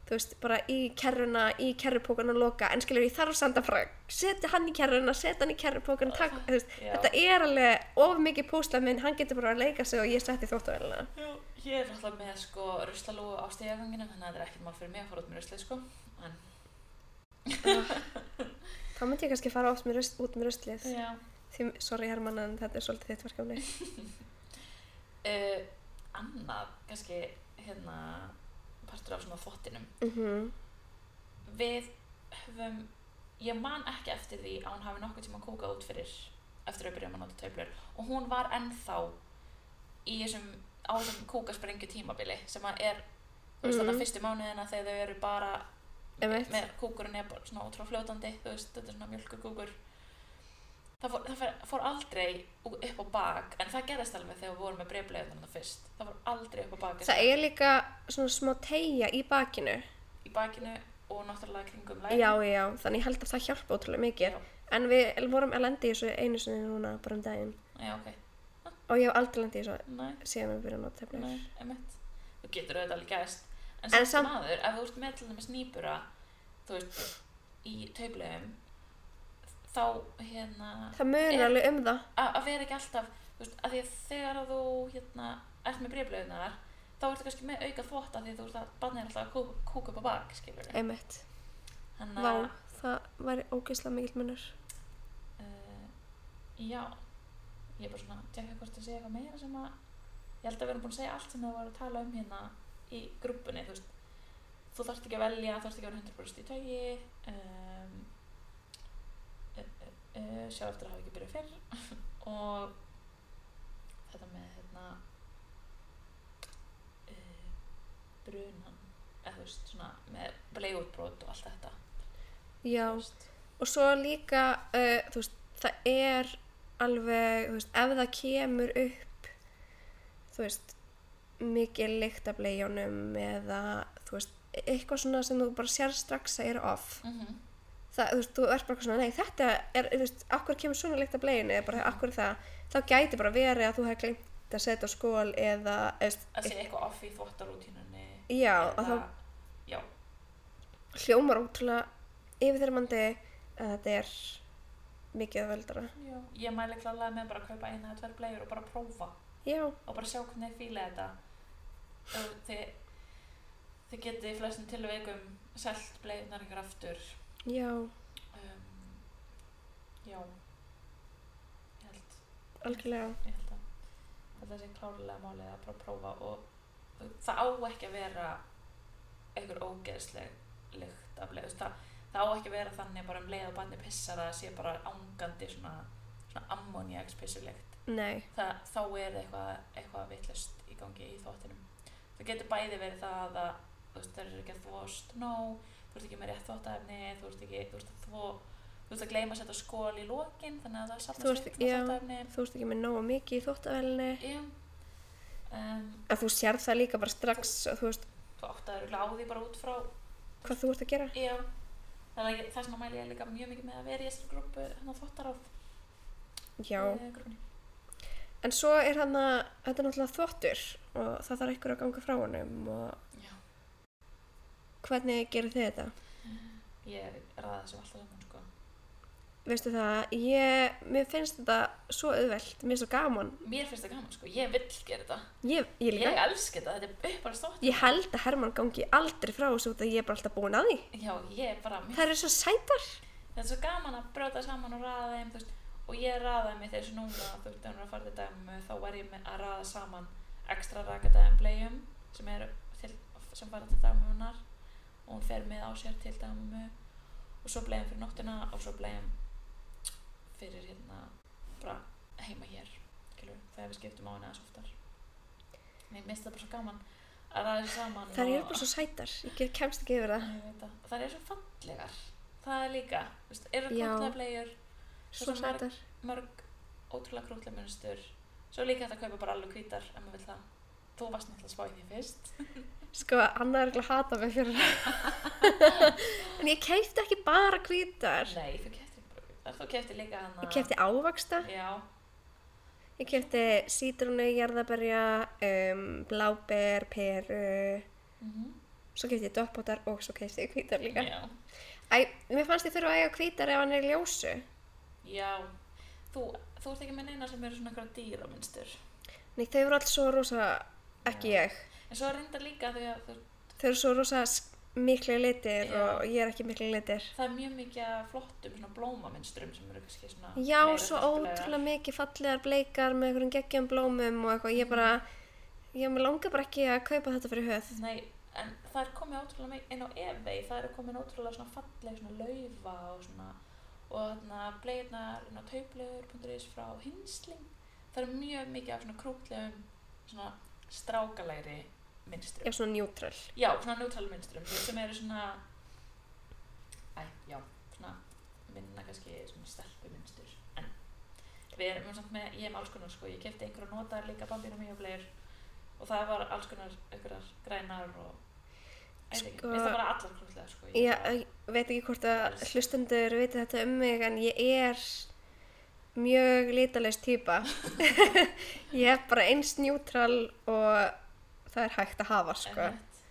þú veist, bara í kerruna, í kerrupókan og loka, en skilur ég þarf samt að fara, að setja hann í kerruna, setja hann í kerrupókan, takk, þú veist,
Já.
þetta er alveg of mikið púsla minn, hann getur bara að leika sig og ég setti þvóttavælina.
já, ég er náttúrulega með sko ruslalúu á stíðaganginu þannig að þetta er ekkert mál fyrir mig að fara út með ruslið sko en,
Þá myndi ég kannski fara oft með rusl, út með ruslið.
já
Því, sorry Herman, en þetta er svolítið þitt verkefni.
uh, annað kannski hérna partur af svona þvottinum
Mm
Mhm. við höfum ég man ekki eftir því að hún hafi nokkuð tíma kókað út fyrir eftir að við byrjum að nota töflur og hún var ennþá í þessum á þessum kókasprengju tímabili sem að er þú veist
Mhm.
þarna fyrstu mánuðina þegar þau eru bara
Einmitt.
með kókurinn er bara svona ótrá fljótandi þú veist þetta er svona mjölkur kókur það fór, það fór, fór aldrei ú- upp á bak en það gerðist alveg þegar við vorum með breyflegið þarna fyrst það fór aldrei upp á bak
Það er líka svona smá tegja í bakinu.
í bakinu og náttúrulega kringum lægin
Já, já, þannig ég held að það hjálpa ótrúlega mikið.
Já.
En við vorum að lenda í þessu einu sinni núna bara um daginn.
já ok,
Og ég hef aldrei lendið í þessu
næ
síðan við byrjum að nota tefnir.
Nei, emitt. Þú getur auðvitað alveg gæst. En,
En
samt
samt-
maður, ef þú ert með til dæmis nýbura, þú veist, í taublegum, þá hérna,
Það mun
Er-
alveg um það.
a- að vera ekki alltaf, þú veist, að því að þegar að þú hérna, ert með breyflegunar, þá ertu kannski með auka þvótt að því að þú veist að barnið er alltaf að kúka, kúka upp á bak, skilur við.
Einmitt.
Þannig
Vá,
að,
það væri ógeðslega mikill munur.
uh, já, ég er bara svona að tjekka hvort þú sé eitthvað meira sem að, ég held að við erum búin að segja allt sem þau voru að tala um hérna í grúppunni, þú veist, þú þarft ekki að velja, þarft ekki að vera 100% í tægi, um, uh, uh, uh, sjá eftir að hafa ekki byrjað fyrr og þetta með hérna, uh, brunan, eða þú veist, svona með bleiutbrot og allt þetta,
Já,
þú veist.
og svo líka, uh, þú veist, það er alveg, þú veist, ef það kemur upp, þú veist, mikið lykt af leiðjónum eða, þú veist, eitthvað svona sem þú bara sér strax að er off.
Mm -hmm.
það, þú veist, þú ert bara eitthvað svona, nei, þetta er, þú veist, akkur kemur svona líkt af bleginu eða bara akkur það, þá gæti bara verið að þú hefði glemt að setja á skól eða, þú veist,
að sé eitthvað off í þvottarútínunni
já, og þá
já,
hljómar ótrúlega yfirþyrmandi að þetta er mikið öðveldara.
já, ég mæli klálega með bara að kaupa eina eða tvær bleiur og bara prófa
Já,
og bara sjá hvernig þið fíla þetta og þið þið getið í flestum tilveikum selt bleiðnar ykkur aftur
já,
um, já ég held,
algjörlega.
ég held að þetta sé klárlega málið að bara prófa og það á ekki að vera einhver ógeðsleg lykt af leið, þú veist, það, það á ekki að vera þannig bara um leið og barni pissar að það sé bara ángandi svona, svona ammoniaks pissulykt
Nei,
það, þá er eitthvað, eitthvað vitlust í gangi í þvottinum það getur bæði verið það að þú veist, það er ekki að þvóst nóg þú ert ekki með rétt þvottaefni þú ert ekki, þú ert að þvó þú ert að gleyma að setja skól í lokin þannig að það
Þú
safnast
ert-
upp
já.
þvottaefni
þú veist ekki með nógu mikið í þóttavelinu.
já um,
En þú sér það líka bara strax, að þú veist,
þú átt að eru á því bara út frá E
hvað þú ert að gera.
Já, Það er ekki- þess vegna mæli ég líka mjög mikið með að vera í þessari grúpu hérna þvottaráð
já.
eh, grúpunni.
En svo er hann að, þetta er náttúrulega þvottur og það þarf einhver að ganga frá honum og
Já.
hvernig gerir þið þetta?
Ég ræða þessu alltaf saman sko.
Veistu það, ég, mér finnst þetta svo auðvelt, mér er svo gaman.
Mér finnst það gaman sko, ég vill gera þetta.
Ég, ég líka,
Ég elska þetta, þetta er uppáðast þvottur.
ég held að Herman gangi aldrei frá þessu út að ég er bara alltaf búin að því.
Já, ég er bara, mér
Það eru svo sætar.
þetta er svo gaman að brjóta saman og raða þeim, þú veist, og ég raðaði mig þegar svo núna, þú veist, þegar hún er að fara til dæmu, þá var ég með að raða saman ekstra rakadæðum blegjum sem eru til, sem fara til dæmunar og hún fer með á sér til dæmu og svo blegjum fyrir nóttina og svo blegjum fyrir hérna bara heima hér, skilur, þegar við skiptum á henni aðeins oftar. En ég minnst það bara svo gaman að raða þessu saman
Það eru
og-
bara svo sætar, ég get- kemst ekki yfir það.
Ég veit það. Það er svo fallegar. Það er líka, þú veist, eru
Já.
krútlega blegjur,
Svo
Svo marg-
sætar.
mörg ótrúlega krútlega munstur. Svo er líka þetta að kaupa bara alveg hvítar, ef maður vil það. Þú varst náttúrulega að spá í því fyrst.
Sko, Anna er ekki að hata mig fyrir það. en ég keipti ekki bara hvítar.
Nei, þú keftir bara hvítar. Þú keftir líka hana...
Ég keipti ávaksta,
Já,
ég keipti sítrunu, jarðaberja, um, bláber, peru,
mm
svo keipti ég döpbótar og svo keipti ég hvítar líka.
já.
Æ, mér fannst ég þurfa að eiga hvítar ef hann er í ljósu.
Já. Þú, þú ert ekki með neina sem eru svona einhverja dýra munstur.
Nei, þau eru alls svo rosa, ekki ég.
En svo er reyndar líka því að þú,
Þau eru svo rosa s- miklir litir
Já.
og ég er ekki miklir litir.
það er mjög mikið af flottum svona blómamunsturum sem eru kannski svona...
Já,
meira
svo
stelpulegar.
ótrúlega mikið fallegar bleikar með einhverjum geggjum blómum og eitthvað. Ég bara, ég mér langar bara ekki að kaupa þetta fyrir höð.
Nei, en það er komið ótrúlega mikið inn á eBay, það eru komin ótrúlega svona falleg, svona laufa og svona og þarna bleiðnar hérna inn á tauplegur.is frá hinsling það er mjög mikið af svona krútlegum svona strákalegri
Já,
minnstrum,
svona njútrál.
já, svona neutral minnstrum sem eru svona æ, já, svona minna kannski svona stelpu minnstur en við erum samt með, ég er með alls konar sko, ég kefti einhverja notaðar líka bambínum mjög blegur og það var alls konar einhverjar grænar og Æ, ég veit ekki,
Sko-
mér finnst það bara allar krútlega sko ég
Ég
bara-
ég veit ekki hvort að hlustendur viti þetta um mig en ég er mjög litalist týpa. ég er bara eins njútrál og það er hægt að hafa, sko.
Einmitt.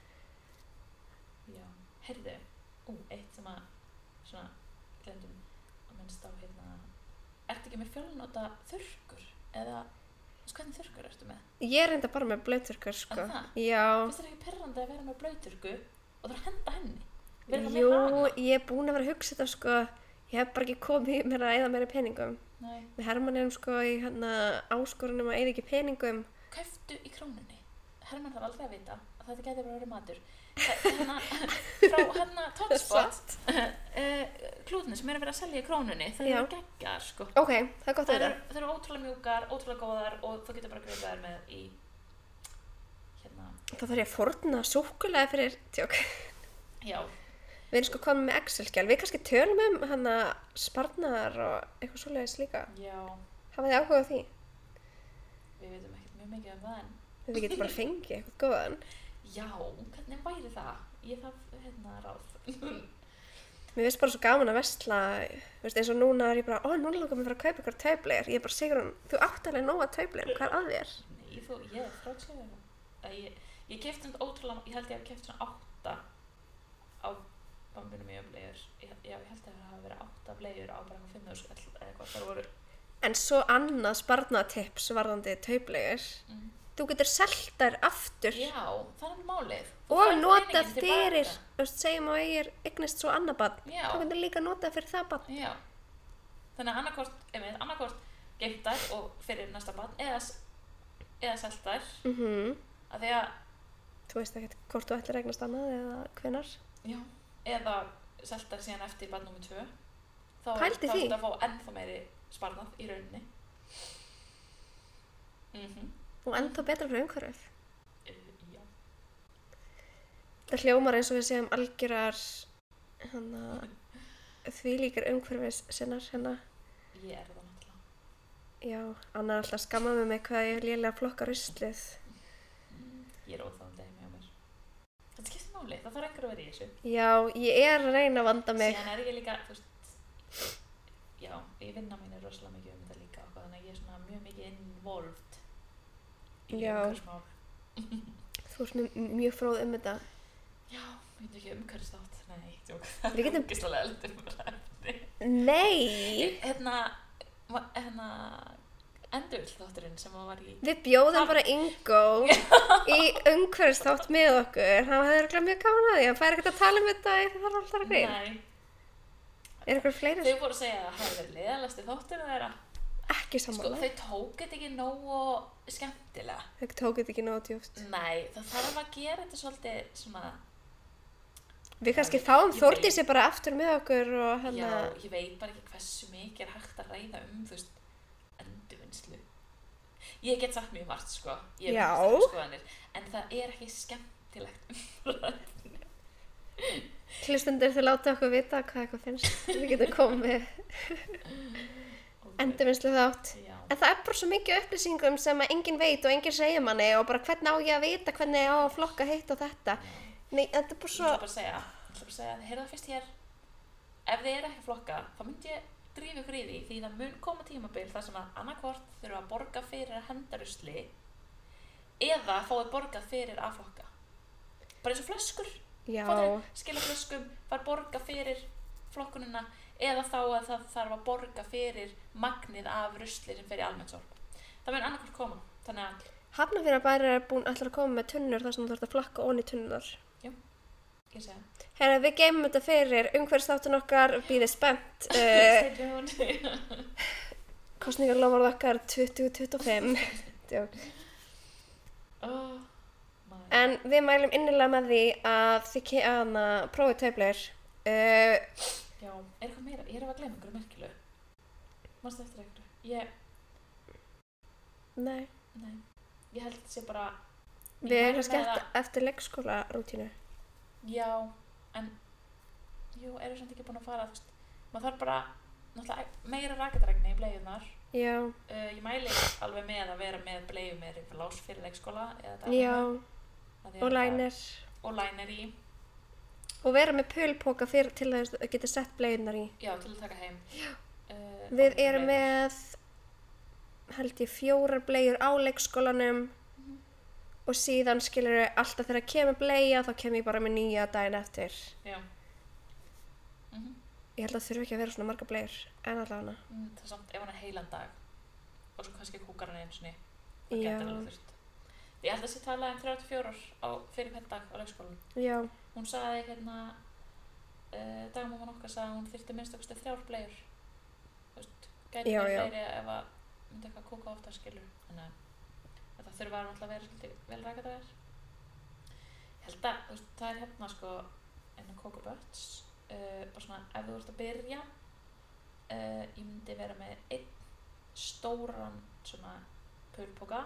Já, heyrðu, ú, eitt sem að svona, glemdum að minnst á hérna Ertu ekki með fjölnóta þurrkur? Eða, þú veist hvernig þurrkur ertu með?
Ég er enda bara með blöyturkur, sko.
Er það?
Já.
Finnst þér ekki perrandi að vera með blöyturku og það er að henda henni? Vera það með
Jú,
hana?
ég er búin að vera að hugsa þetta, sko. Ég hef bara ekki komið mér að eða meira peningum.
Nei,
Við Hermann erum, sko, í hérna áskorunum að eða ekki peningum.
kauftu í krónunni. Hermann þarf aldrei að vita að þetta gæti bara að vera matur. Það- Hérna, frá hérna Totspot, uh, klúðinu sem er að vera að selja í krónunni, það
Já.
er geggar sko.
Ok, það er gott að
Það
þetta.
eru, það eru ótrúlega mjúkar, ótrúlega góðar og þú getur bara greipið þær með í hérna,
Þá þarf ég að forna súkulega fyrir tjók.
já,
Við erum sko komin með Excel-skjál. Við kannski tölum um hann að sparnar og eitthvað svoleiðis líka.
já,
Hafa þið áhuga á því?
við veitum ekkert mjög mikið um það en
Við getum bara fengið eitthvað góðan.
já, hvernig væri það? Ég þarf hérna ráð.
Mér finnst bara svo gaman að vestla, þú veist, eins og núna er ég bara, ó, núna langar mér að fara að kaupa ykkur töfleir. Ég er bara, Sigrun, þú átt alveg nóga töfleir, hvað er að þér?
Nei, þú, ég er þrjátslega það. Ég, ég kefti um ótrúlega, ég held ég hafi keft svona átta á bambinu mjög blegjur. Ég, já, ég held að það hafi verið átta blegjur á bara um fimmu skall eða eitthvað. Það voru,
En svo annað sparnatips varðandi töfleir,
mm,
þú getur selt þær aftur
já, það er alveg málið. Þú
og
færð
nota
peninginn tilbaka.
fyrir, þú veist, segjum að ég er eignist svo annað bann,
Já.
þá getur líka nota fyrir það bann.
Já. Þannig að annarkort, einmitt, annarkort geimtar og fyrir næsta barn eða, s- eða seltar
Mm
að því að,
Þú veist ekkert hvort þú ætlir að eignast annað eða hvenar.
já, eða seltar síðan eftir barn nr. 2 þá er
Pældi
þá
því.
ertu að fá ennþá meiri sparnað í rauninni mhm mm
og ennþá betra fyrir umhverfið.
Eh, já,
Það hljómar eins og við séum algjörar hana, því líkar umhverfis sinnar hérna.
ég er það náttúrulega
Já, Anna er alltaf að skamma með mig hvað ég lélega flokka ruslið.
ég er óþáðum degi með mér þetta skiptir máli, það þarf einhver að vera í þessu
Já, ég er að reyna að vanda mig.
síðan er ég líka, þú veist já, ég vinna mín er rosalega mikið um þetta líka og hvað, þannig að ég er svona mjög mikið involved í
Já.
umhverfismál
Þú ert mjög, mjög fróð um þetta.
já, ég veit ekki umhverfistátt nei, tjók,
Við getum-
gíslega lítið umhverfismál
Nei!
um hérna, ma- hérna endurvill þátturinn sem hann var í
Við bjóðum
Hann-
bara Ingo í umhverfstátt með okkur. Hann hefði örugglega mjög gaman að því. Hann fær ekkert að tala um þetta ef það er alltaf að greið.
Nei,
Er eitthvað fleiri
þau voru að segja að það hefði verið leiðalasti þátturinn þeirra
ekki
sko,
samanlega?
þau tók þetta ekki nógu skemmtilega
Þau tók þetta ekki nóg djúft.
nei, það þarf að gera þetta svolítið svona,
Við kannski
Ég
fáum
veit.
Þórdísi bara aftur með okkur og hérna, hann
já,
að...
ég veit bara ekki hversu mikið er hægt að ræða um þú veist, endurvinnslu ég get sagt mjög margt sko, ég
Já.
hef skoðanir en það er ekki skemmtilegt
Hlustundir þau láta okkur vita hvað eitthvað finnst. Við getum komið endurvinnslu þátt.
já,
En það er bara svo mikið af upplýsingum sem að enginn veit og enginn segja manni og bara hvernig á ég að vita hvernig ég á að flokka hitt og þetta. Nei, þetta er bara svo...
Svo... Ég ætla bara að segja, ég ætla bara að segja, heyrðu það fyrst hér, ef þið eru ekki að flokka, þá myndi ég drífa ykkur í því, því það mun koma tímabil þar sem að annarkvort þurfa að borga fyrir að henda rusli eða fáið borgað fyrir að flokka. Bara eins og flöskur,
Já,
fattarðu? skila flöskum, var borga fyrir flokkunina eða þá að það þarf að borga fyrir magnið af rusli sem fer í almennsorp. Það mun annarkvort koma, þannig að
Hafnafjörðar bara er búin alltaf að koma með tunnur þar sem þú þarf að flakka onni tunnunar.
ég segja,
Herra, við geymum þetta fyrir umhverfstáttin okkar, býðið spennt. Uh,
stay tuned.
Kostningarlofvarð okkar 2025. Djók.
oh, my
En við mælum innilega með því að þið kemur að prófið töflur. Uh,
Já, er eitthvað meira? Ég er að glemja einhverju merkilegu. Mástu eftir einhverju? Ég,
nei,
nei, ég held þetta sé bara,
við
Ég
erum
mæli
kannski
með
eftir, eftir leikskóla rútínu.
já, en, jú, erum samt ekki búin að fara, þú veist, maður þarf bara, náttúrulega, meira rakadrækni í bleiðunar.
Já,
Uh, ég mæli alveg með að vera með bleiðu með lás fyrir leikskóla eða
já,
dagana, af því
og
að það-
lænir.
Og lænir í,
Og vera með pölpoka fyrir til að geta sett bleiðnar í.
já, til að taka heim. Já. Uh,
Við erum með, held ég, fjórar bleiður á leikskólanum og síðan skilur við alltaf þegar kemur bleiða þá kem ég bara með nýja daginn eftir.
Já. Mm
Ég held að það þurfi ekki að vera svona marga bleiður, en allavega hana.
mm, það er samt, ef hann er heilan dag, og svo kannski kúkar hann einu sinni, Það
Já,
gæti alveg þurft. Ég held að sé talað um 34 á, fyrir hvern dag á leikskólanum.
já,
Hún sagði hérna, uh, dagmáman okkar sagði að hún þyrfti minnst okkur þrjár bleiur. Þú veist, gæti
Já,
verið
já.
fleiri ef að myndi eitthvað kúka ofta skilur. Þannig að þetta þurfa náttúrulega að vera svolítið vel rækadagar. Ég held að þú veist, það er hérna sko enn að kóka bötts. Uh, bara svona ef þú ert að byrja, uh, ég myndi vera með einn stóran svona pölpoka,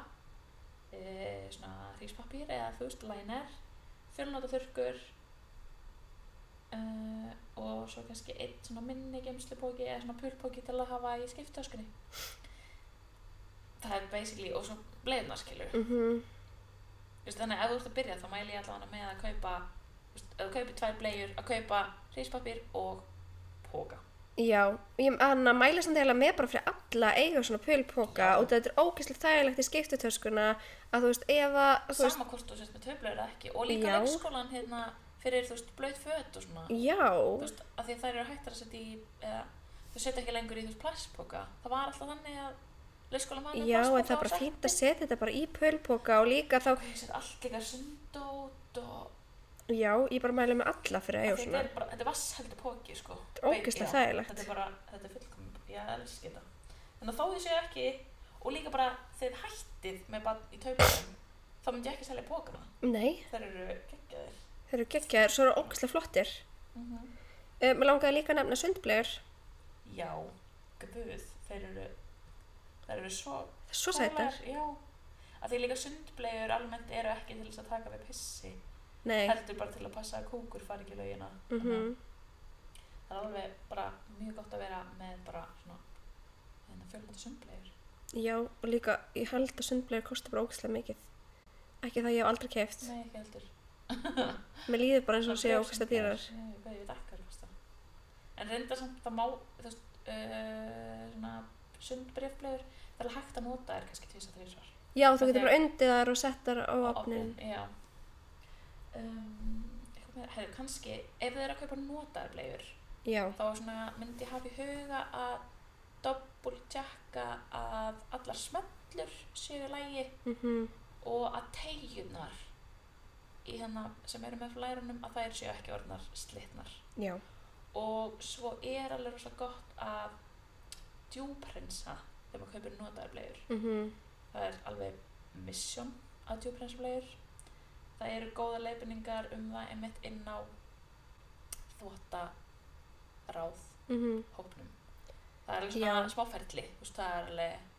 uh, svona hríspapír eða þú veist, lænir fjölnóta þurrkur uh, og svo kannski einn svona minni gemslupóki eða svona púlpóki til að hafa í skiptöskunni það er basically og svo bleiðnar skilur
mhm,
Just, þannig að ef þú ert að byrja þá mæli ég allavega með að kaupa just, að kaupa tvær bleiður, að kaupa ríspapír og póka
já. Ég hann að mæla samt eiginlega með bara fyrir alla að eiga svona pölpoka
Já.
og þetta er ógeðslega þægilegt í skiptutöskuna að þú veist, ef að, þú veist,
sama hvort þú sért með töflur eða ekki og líka
Já.
leikskólan hérna fyrir þú veist blöyt föt og svona
já.
þú veist, að því að þær eru hættar að setja í eða, þau setja ekki lengur í þú veist plastpoka það var alltaf þannig að leikskólan var
Já,
með
en
plastpoka
það er
og
bara
setti.
fínt að setja þetta bara í pölpoka og líka þá,
og ég set allt líka sundót og
já, ég bara mælu með alla fyrir að eiga
þetta
svona.
er bara, þetta er vassheldi póki sko
Þetta er ógeðslega
Já,
þægilegt.
þetta er bara, þetta er fullkomum, ég elski þetta en þó þið séu ekki og líka bara þegar þið hættið með bann í taupunum þá myndi ég ekki selja pókana
Nei,
þær eru geggjaðir
þeir eru geggjaðir, svo eru ógeðslega flottir.
mm
Uh, mér langaði líka að nefna sundblegur,
já, guð, þeir eru þær eru svo
svo sætar.
Kólar, já, að því líka sundblegur almennt eru ekki til þess að taka við pissi
Nei,
heldur bara til að passa að kúkur fari ekki í laugina
mm
Þannig að það er alveg bara mjög gott að vera með bara svona hérna, þennan fjölmönda sundblegur
já, og líka, ég held að sundblegur kostar bara ógeðslega mikið. Ekki það ég hef aldrei keft.
nei ekki heldur
Mér líður bara eins og hún sé
Brjóstin
ókvæmst að dýrar.
Nei, ég veit- ég veit ekki hvað það En reynda samt, það má, þú veist, uh, svona sundbriflegur, það er alveg hægt að nota þær kannski tvis að þrísvar.
Já, þú
Af því
getur
að-
bara undið þær og sett þær á opnin.
Já. Um, eitthvað meira, hefur kannski, ef þið eru að kaupa notaðar blegur,
Já,
þá svona myndi ég hafa í huga að double checka að allar smellur séu í lagi
mhm,
og að tegjurnar í hérna sem eru með flærunum að þær séu ekki orðnar slitnar.
já,
og svo er alveg rosa gott að djúprensa þegar maður kaupir notaðar bleiur
mhm,
það er alveg mission að djúprensa bleiur það eru góða leifinningar um það einmitt inn á þvotaráð
mhm.
hópnum það er alveg svona
Já.
smáferli þú veist, það er alveg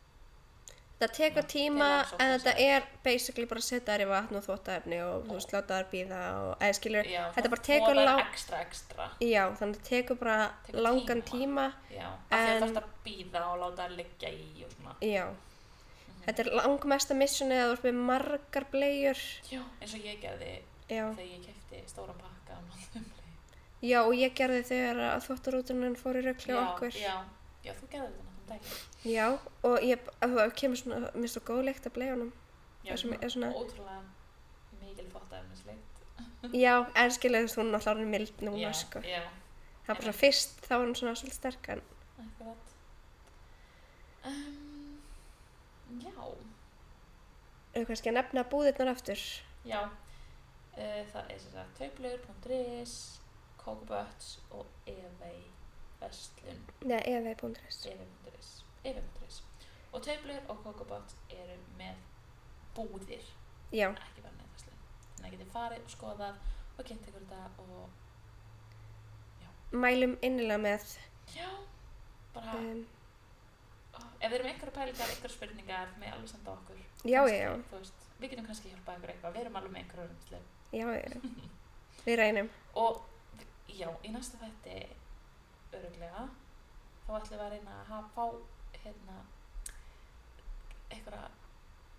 Það tekur tíma
Til að sópa
en þetta
sér.
er basically bara að setja þær í vatn og þvottaefni og þú veist, láta þær býða og, eða skilur,
já,
þetta
svona
bara tekur
þvotar
lang-
ekstra ekstra
já, þannig það tekur bara
Tekur
langan tíma.
tíma. já, af því
En-
að þarfst að býða og láta það liggja í og svona Mhm.
Já, þetta er langmesta missunni að þú ert með margar bleiur.
já, eins og ég gerði
Já,
þegar ég kefti stóran pakka af notaðum bleium
já og ég gerði þegar að þvottarútunan fór í röggli á
já,
okkur.
Já, já, þú gerði þetta náttúrulega daginn.
Já, og ég, að það kemur svona, mér finnst það góð leikt að bleiunum.
Já,
Er svona- er svona-
Ótrúlega mikil þvottaefnisleikt.
Já, en skilur þú veist, hún er alltaf orðin mild núna, sko.
Já,
Það er bara svona fyrst, þá er hún svona svolítið sterk, en
akkurat. Um, já,
Eða kannski að nefna búðirnar aftur.
já. Uh, það er sér að tauplur.is, kokoböts og evei vestlun,
Nei, evi.is.
evei.is, evei.is. Og tauplur og kokoböts eru með búðir,
Já,
ekki bara neðverslun. Þannig að getið farið og skoðað og kynnt ykkur þetta og
mælum innilega með.
Já, bara
Um,
ef þið eru með einhverja pælingar, einhverja spurningar með alveg senda okkur
já,
Kannski,
já,
þú veist, Við getum kannski hjálpað ykkur eitthvað, við erum alveg með um einhverja umsli
já, já. Við reynum.
Og vi- já, í næsta þætti öruglega þá ætlum við að reyna að hafa fá hérna einhverja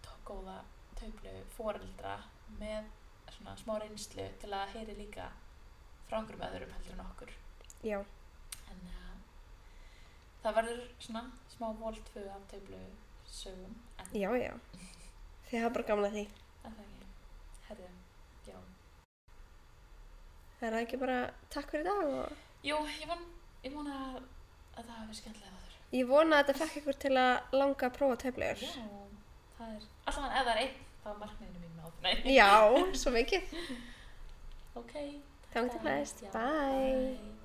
tó- góða tauplu foreldra með svona smá reynslu til að heyri líka frá einhverjum öðrum heldur en okkur
Já,
en uh, það verður svona smá voltfu af tauplu sögum en
já, já. Þið hafa bara gamla því.
Er það ekki? Herðu, já.
Það er það ekki bara takk fyrir í dag og
Jú, ég vona, ég vona að það hafi verið skemmtilega þar.
ég vona að þetta fekk ykkur til að langa að prófa töflegur.
Já, það er, allavega ef það er einn, þá er markmiðinu mín náð. Nei.
Já, svo mikið.
Ok.
Þangað til næst. Bye.